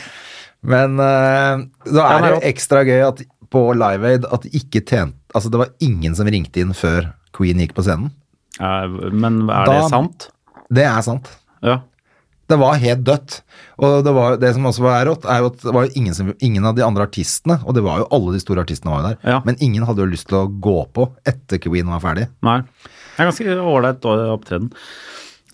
Speaker 1: Men eh, da
Speaker 2: Ja,
Speaker 1: er det jo
Speaker 2: nei,
Speaker 1: ekstra gøy at på Live Aid at de ikke tjente Altså, det var ingen som ringte inn før Queen gikk på scenen.
Speaker 2: Ja, men er
Speaker 1: Da-
Speaker 2: det sant?
Speaker 1: Det er sant.
Speaker 2: Ja.
Speaker 1: Det var helt dødt. Og det, var, det som også var rått, er jo at det var jo ingen, som, ingen av de andre artistene, og det var jo alle de store artistene var jo der,
Speaker 2: Ja.
Speaker 1: men ingen hadde jo lyst til å gå på etter Queen var ferdig.
Speaker 2: Nei. Det er ganske ålreit å- opptreden.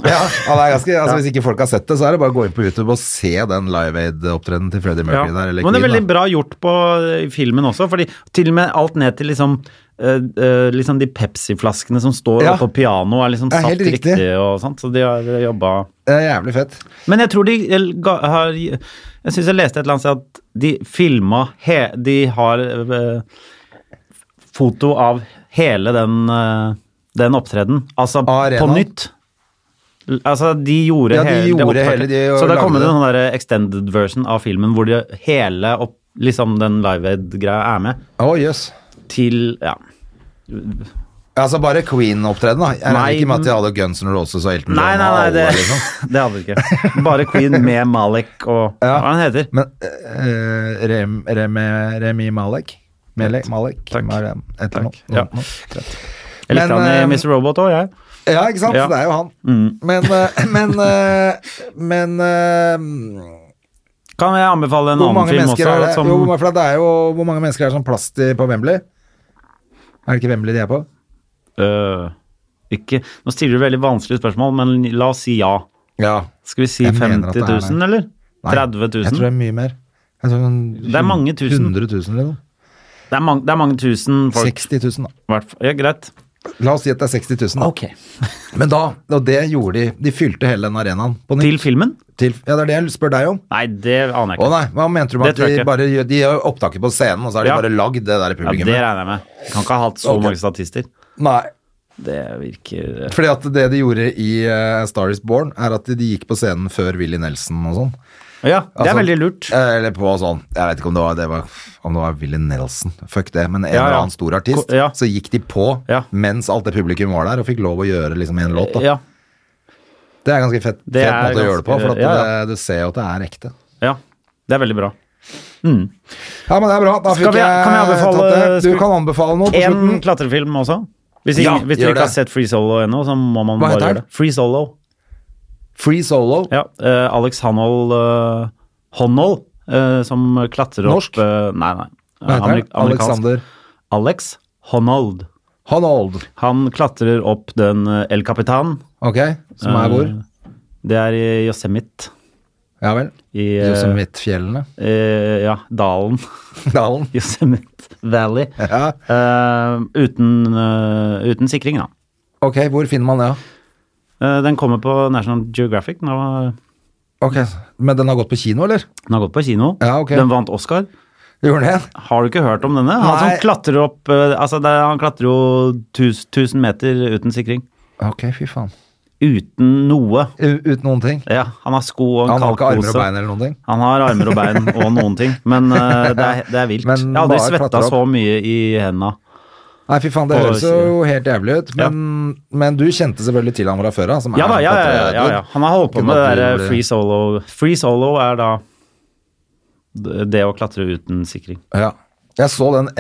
Speaker 1: Ja, ja, det er ganske, altså Hvis ikke folk har sett det, så er det bare å gå inn på YouTube og se den Live Aid-opptredenen til Freddie
Speaker 2: Ja.
Speaker 1: Mercury der. Eller
Speaker 2: men det er
Speaker 1: Queen,
Speaker 2: veldig
Speaker 1: da.
Speaker 2: bra gjort på eh, filmen også, fordi til og med alt ned til liksom eh, eh, liksom de Pepsi-flaskene som står
Speaker 1: Ja.
Speaker 2: oppå pianoet, er liksom
Speaker 1: Det er
Speaker 2: satt
Speaker 1: helt riktig.
Speaker 2: riktig. og sånt, så de har eh, jobba
Speaker 1: Det er jævlig fett.
Speaker 2: Men jeg tror de el- ga- har Jeg syns jeg leste et eller annet sted at de filma he, De har eh, foto av hele den, eh, den opptreden. Altså på
Speaker 1: Arenaen?
Speaker 2: nytt. L- Altså, de gjorde,
Speaker 1: Ja, de
Speaker 2: hele-
Speaker 1: gjorde
Speaker 2: opptaket.
Speaker 1: hele de og
Speaker 2: Så det
Speaker 1: lagde
Speaker 2: kommer det
Speaker 1: det.
Speaker 2: en sånn der extended version av filmen hvor de hele opp, liksom den live aid-greia er med.
Speaker 1: Å, jøss.
Speaker 2: Til Ja.
Speaker 1: Altså bare Queen-opptredenen, da. Jeg regner
Speaker 2: Nei,
Speaker 1: ikke med at de hadde Guns N' Roses og Elton
Speaker 2: Nei,
Speaker 1: John
Speaker 2: nei,
Speaker 1: og
Speaker 2: nei,
Speaker 1: alle,
Speaker 2: det,
Speaker 1: liksom.
Speaker 2: det hadde vi ikke. Bare Queen med Malik og
Speaker 1: Ja.
Speaker 2: Hva han heter
Speaker 1: Men eh, Rem, Remi, Remi Malek? Melek? Malek?
Speaker 2: Takk.
Speaker 1: Marem, et eller
Speaker 2: Takk.
Speaker 1: annet.
Speaker 2: Ja.
Speaker 1: Noe- noe.
Speaker 2: Jeg likte
Speaker 1: Men,
Speaker 2: han i
Speaker 1: eh,
Speaker 2: Mr. Robot òg, jeg.
Speaker 1: Ja, ikke sant?
Speaker 2: Ja. Mm.
Speaker 1: Det er jo han. Men, eh, men, eh, men eh,
Speaker 2: Kan jeg anbefale en
Speaker 1: Hvor
Speaker 2: annen
Speaker 1: mange
Speaker 2: film
Speaker 1: mennesker
Speaker 2: også? sånn
Speaker 1: er det?
Speaker 2: Som,
Speaker 1: Jo, for det er jo hvor mange mennesker er det som plast i- på Wembley? Er det ikke Wembley de er på?
Speaker 2: Øh, ikke, nå stiller du veldig vanskelige spørsmål, men la oss si ja.
Speaker 1: Ja.
Speaker 2: Skal vi si
Speaker 1: Jeg
Speaker 2: 50
Speaker 1: mener at det er
Speaker 2: 000,
Speaker 1: det.
Speaker 2: eller?
Speaker 1: Nei,
Speaker 2: 30
Speaker 1: Jeg tror
Speaker 2: 000?
Speaker 1: det er mye mer. Jeg tror sånn
Speaker 2: Det er mange tusen.
Speaker 1: 100 000 eller noe.
Speaker 2: Det er mange, det er mange tusen folk.
Speaker 1: 60 000, da.
Speaker 2: Hvert, ja, greit.
Speaker 1: La oss si at det er 60 000. da.
Speaker 2: Ok.
Speaker 1: Men da, og det gjorde de. De fylte hele den arenaen på nytt.
Speaker 2: Til filmen?
Speaker 1: Til, ja, det er det jeg spør deg om.
Speaker 2: Nei, det aner jeg
Speaker 1: Å
Speaker 2: ikke.
Speaker 1: nei, hva mente du med
Speaker 2: Det
Speaker 1: at
Speaker 2: tror jeg
Speaker 1: de
Speaker 2: ikke.
Speaker 1: bare gjør, de gjør opptaket på scenen, og så har de
Speaker 2: Ja.
Speaker 1: bare lagd det der
Speaker 2: Ja, det
Speaker 1: publikummet?
Speaker 2: regner jeg med. Kan ikke ha hatt så
Speaker 1: Ok.
Speaker 2: mange statister.
Speaker 1: Nei,
Speaker 2: Det virker eh,
Speaker 1: fordi at det de gjorde i eh, Star Is Born, er at de gikk på scenen før Willy Nelson og sånn.
Speaker 2: Ja, det er
Speaker 1: Altså,
Speaker 2: veldig lurt.
Speaker 1: eh, Eller på sånn, jeg vet ikke om det var, det var, om det var Willy Nelson, fuck det, men en
Speaker 2: Ja, ja.
Speaker 1: eller annen stor artist,
Speaker 2: Ko- ja.
Speaker 1: så gikk de på
Speaker 2: Ja.
Speaker 1: mens alt det publikum var der, og fikk lov å gjøre liksom en låt da.
Speaker 2: Ja,
Speaker 1: Det er ganske fett,
Speaker 2: Det
Speaker 1: fet
Speaker 2: er
Speaker 1: måte å gjøre det på,
Speaker 2: ganske-
Speaker 1: for at
Speaker 2: ja,
Speaker 1: Det, du ser jo at det er ekte.
Speaker 2: ja. Det er veldig bra.
Speaker 1: Ja, men det er bra, da
Speaker 2: Skal
Speaker 1: fikk
Speaker 2: vi-
Speaker 1: jeg,
Speaker 2: kan jeg anbefale-
Speaker 1: tatt det. Du
Speaker 2: skal-
Speaker 1: kan anbefale noe på
Speaker 2: En
Speaker 1: slutten.
Speaker 2: klatrefilm også. Hvis,
Speaker 1: Ja,
Speaker 2: ingen, hvis dere
Speaker 1: gjør
Speaker 2: ikke
Speaker 1: det.
Speaker 2: har sett Free Solo ennå, så må man
Speaker 1: Hva
Speaker 2: bare gjøre
Speaker 1: heter den?
Speaker 2: det. Free Solo.
Speaker 1: Free solo.
Speaker 2: Ja, eh, Alex Hanold eh, Honnold, eh, som klatrer opp
Speaker 1: Norsk?
Speaker 2: eh, Nei, nei.
Speaker 1: Hva heter han?
Speaker 2: Amerik- amerikansk.
Speaker 1: Alexander
Speaker 2: Alex Honnold.
Speaker 1: Hanold.
Speaker 2: Han klatrer opp den eh, El Capitan.
Speaker 1: Ok, som er hvor?
Speaker 2: Eh, Det er i Yosemite.
Speaker 1: Ja vel.
Speaker 2: I eh,
Speaker 1: Yosemite-fjellene.
Speaker 2: eh, ja, dalen.
Speaker 1: Dalen.
Speaker 2: Yosemite Valley.
Speaker 1: Ja.
Speaker 2: Eh, uten, eh, uten sikring, da.
Speaker 1: Ok, hvor finner man det? da?
Speaker 2: Eh, den kommer på National Geographic. Den har,
Speaker 1: Ok, Men den har gått på kino, eller?
Speaker 2: den har gått på kino.
Speaker 1: Ja, ok.
Speaker 2: Den vant Oscar.
Speaker 1: Gjorde den det?
Speaker 2: Har du ikke hørt om denne? Han som
Speaker 1: Nei.
Speaker 2: klatrer opp eh, altså det, er- Han klatrer jo 1000 meter uten sikring.
Speaker 1: Ok, fy faen.
Speaker 2: Uten noe.
Speaker 1: U uten noen ting?
Speaker 2: Ja, han har sko og en
Speaker 1: Han har ikke armer og
Speaker 2: kalkpose.
Speaker 1: bein eller noen ting?
Speaker 2: Han har armer og bein og noen ting, men eh, det, er, det er vilt.
Speaker 1: Men
Speaker 2: Jeg har aldri
Speaker 1: bare
Speaker 2: svetta
Speaker 1: klatre opp.
Speaker 2: så mye i henda.
Speaker 1: Nei, fy faen, det
Speaker 2: På
Speaker 1: høres jo helt jævlig ut. Men, men du kjente selvfølgelig til han fra før av? som
Speaker 2: Ja
Speaker 1: er
Speaker 2: da,
Speaker 1: en
Speaker 2: ja, ja, ja,
Speaker 1: klatredude.
Speaker 2: ja, ja. Han har holdt på
Speaker 1: Kunne
Speaker 2: med det eh,
Speaker 1: at du
Speaker 2: derre
Speaker 1: ble-
Speaker 2: free solo. Free solo er da d- det å klatre uten sikring.
Speaker 1: Ja. Jeg så den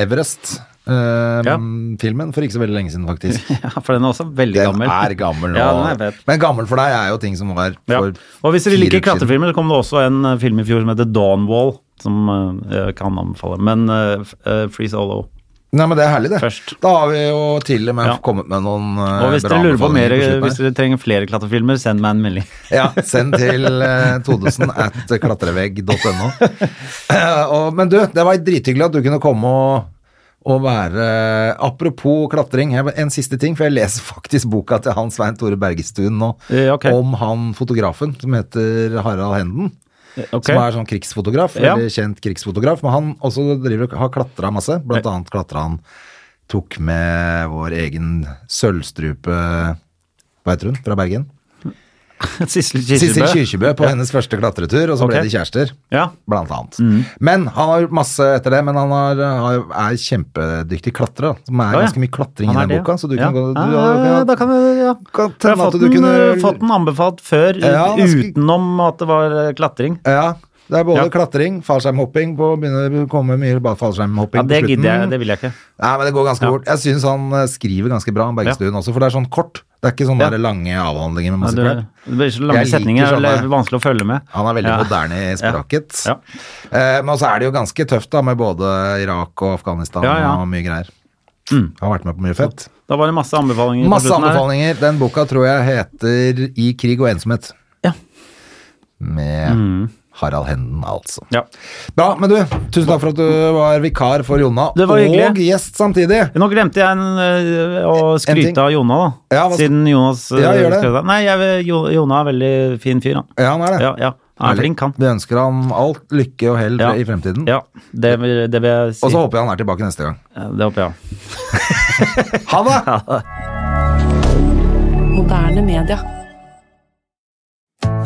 Speaker 1: Everest-filmen for ikke så veldig lenge siden, faktisk.
Speaker 2: Ja, For den er også veldig
Speaker 1: Den
Speaker 2: gammel.
Speaker 1: er gammel nå.
Speaker 2: Ja, den er fet.
Speaker 1: Men gammel for deg er jo ting som var
Speaker 2: Ja.
Speaker 1: for
Speaker 2: Og hvis dere
Speaker 1: fire
Speaker 2: liker
Speaker 1: uker siden.
Speaker 2: klatrefilmer, så kom det også en eh, film i fjor som heter Dawnwall, som eh, jeg kan anbefale. Men eh, f- eh, Free Solo.
Speaker 1: Nei, men det er herlig, det.
Speaker 2: Først.
Speaker 1: Da har vi jo til og med
Speaker 2: Ja.
Speaker 1: kommet med noen eh,
Speaker 2: Og hvis
Speaker 1: bra
Speaker 2: dere lurer på mer, eh,
Speaker 1: anbefalinger på
Speaker 2: hvis
Speaker 1: slutten her.
Speaker 2: dere trenger flere klatrefilmer, send meg en melding.
Speaker 1: Ja, send til eh, todesen at klatrevegg.no. Eh, og- men du, det var drithyggelig at du kunne komme og, og være eh, Apropos klatring, jeg, en siste ting, for jeg leser faktisk boka til han Svein Tore Bergestuen nå,
Speaker 2: Ja, ok.
Speaker 1: om han fotografen som heter Harald Henden.
Speaker 2: Ok.
Speaker 1: Som er sånn krigsfotograf,
Speaker 2: Ja.
Speaker 1: veldig kjent krigsfotograf. Men han også driver, har klatra masse. Blant annet klatra han Tok med vår egen sølvstrupe Hva heter hun? Fra Bergen?
Speaker 2: Sissel
Speaker 1: Sissel
Speaker 2: Kyrkjebø.
Speaker 1: Kyrkjebø på hennes første klatretur, og så
Speaker 2: Ok.
Speaker 1: ble de kjærester.
Speaker 2: Ja.
Speaker 1: Blant annet. Men han har gjort masse etter det, men han har, har, er kjempedyktig klatrer. da. Som er
Speaker 2: Ja, ja.
Speaker 1: ganske mye klatring
Speaker 2: Han
Speaker 1: i
Speaker 2: er
Speaker 1: den
Speaker 2: det, ja.
Speaker 1: boka, så du
Speaker 2: Ja.
Speaker 1: kan gå du,
Speaker 2: Ja, ja, ja, da kan vi, ja.
Speaker 1: kan
Speaker 2: Jeg
Speaker 1: tenne
Speaker 2: har
Speaker 1: at
Speaker 2: fått
Speaker 1: du
Speaker 2: den,
Speaker 1: kunne
Speaker 2: eh, fått den anbefalt før, u-
Speaker 1: Ja, det skulle-
Speaker 2: utenom at det var eh, klatring.
Speaker 1: Ja. Det er både
Speaker 2: Ja.
Speaker 1: klatring, fallskjermhopping på Begynner å komme mye bare fallskjermhopping
Speaker 2: Ja, det
Speaker 1: på slutten.
Speaker 2: gidder jeg, det vil jeg ikke.
Speaker 1: Nei, men det går ganske
Speaker 2: Ja.
Speaker 1: fort. Jeg syns han eh, skriver ganske bra om Bergstuen også, for det er sånn kort. Det er ikke sånne
Speaker 2: Ja.
Speaker 1: der lange avhandlinger med
Speaker 2: Ja,
Speaker 1: masse
Speaker 2: Det,
Speaker 1: fleip.
Speaker 2: det blir så
Speaker 1: Jeg
Speaker 2: lange
Speaker 1: liker
Speaker 2: setninger, det
Speaker 1: sånne-
Speaker 2: er vanskelig å følge med.
Speaker 1: Han er veldig
Speaker 2: Ja.
Speaker 1: moderne i språket.
Speaker 2: Ja.
Speaker 1: Eh, men også er det jo ganske tøft da, med både Irak og Afghanistan
Speaker 2: Ja, ja.
Speaker 1: og mye greier. Har vært med på mye fett.
Speaker 2: Da var det masse anbefalinger. på
Speaker 1: Masse
Speaker 2: slutten her.
Speaker 1: anbefalinger. Den boka tror jeg heter I krig og ensomhet.
Speaker 2: Ja.
Speaker 1: Med
Speaker 2: Mm.
Speaker 1: Harald Henden, altså.
Speaker 2: Ja.
Speaker 1: Bra, men du, tusen takk for at du var vikar for Jonna,
Speaker 2: Det var hyggelig.
Speaker 1: og gjest samtidig.
Speaker 2: Nå glemte jeg en, øh, å
Speaker 1: ting.
Speaker 2: skryte av Jona, da.
Speaker 1: Ja, hva-
Speaker 2: Siden Jonas øh,
Speaker 1: Ja, gjør det.
Speaker 2: skrev det. Nei, jeg, vil- Jo- Jona er veldig fin fyr, han.
Speaker 1: Ja, han er det.
Speaker 2: Ja, ja. Han er
Speaker 1: Herlig.
Speaker 2: flink, han.
Speaker 1: Vi ønsker ham alt lykke og hell
Speaker 2: Ja.
Speaker 1: i fremtiden.
Speaker 2: Ja, det vil, det vil jeg si.
Speaker 1: Og så håper jeg han er tilbake neste gang.
Speaker 2: Ja, Det håper jeg.
Speaker 1: Ha det!
Speaker 3: Moderne media.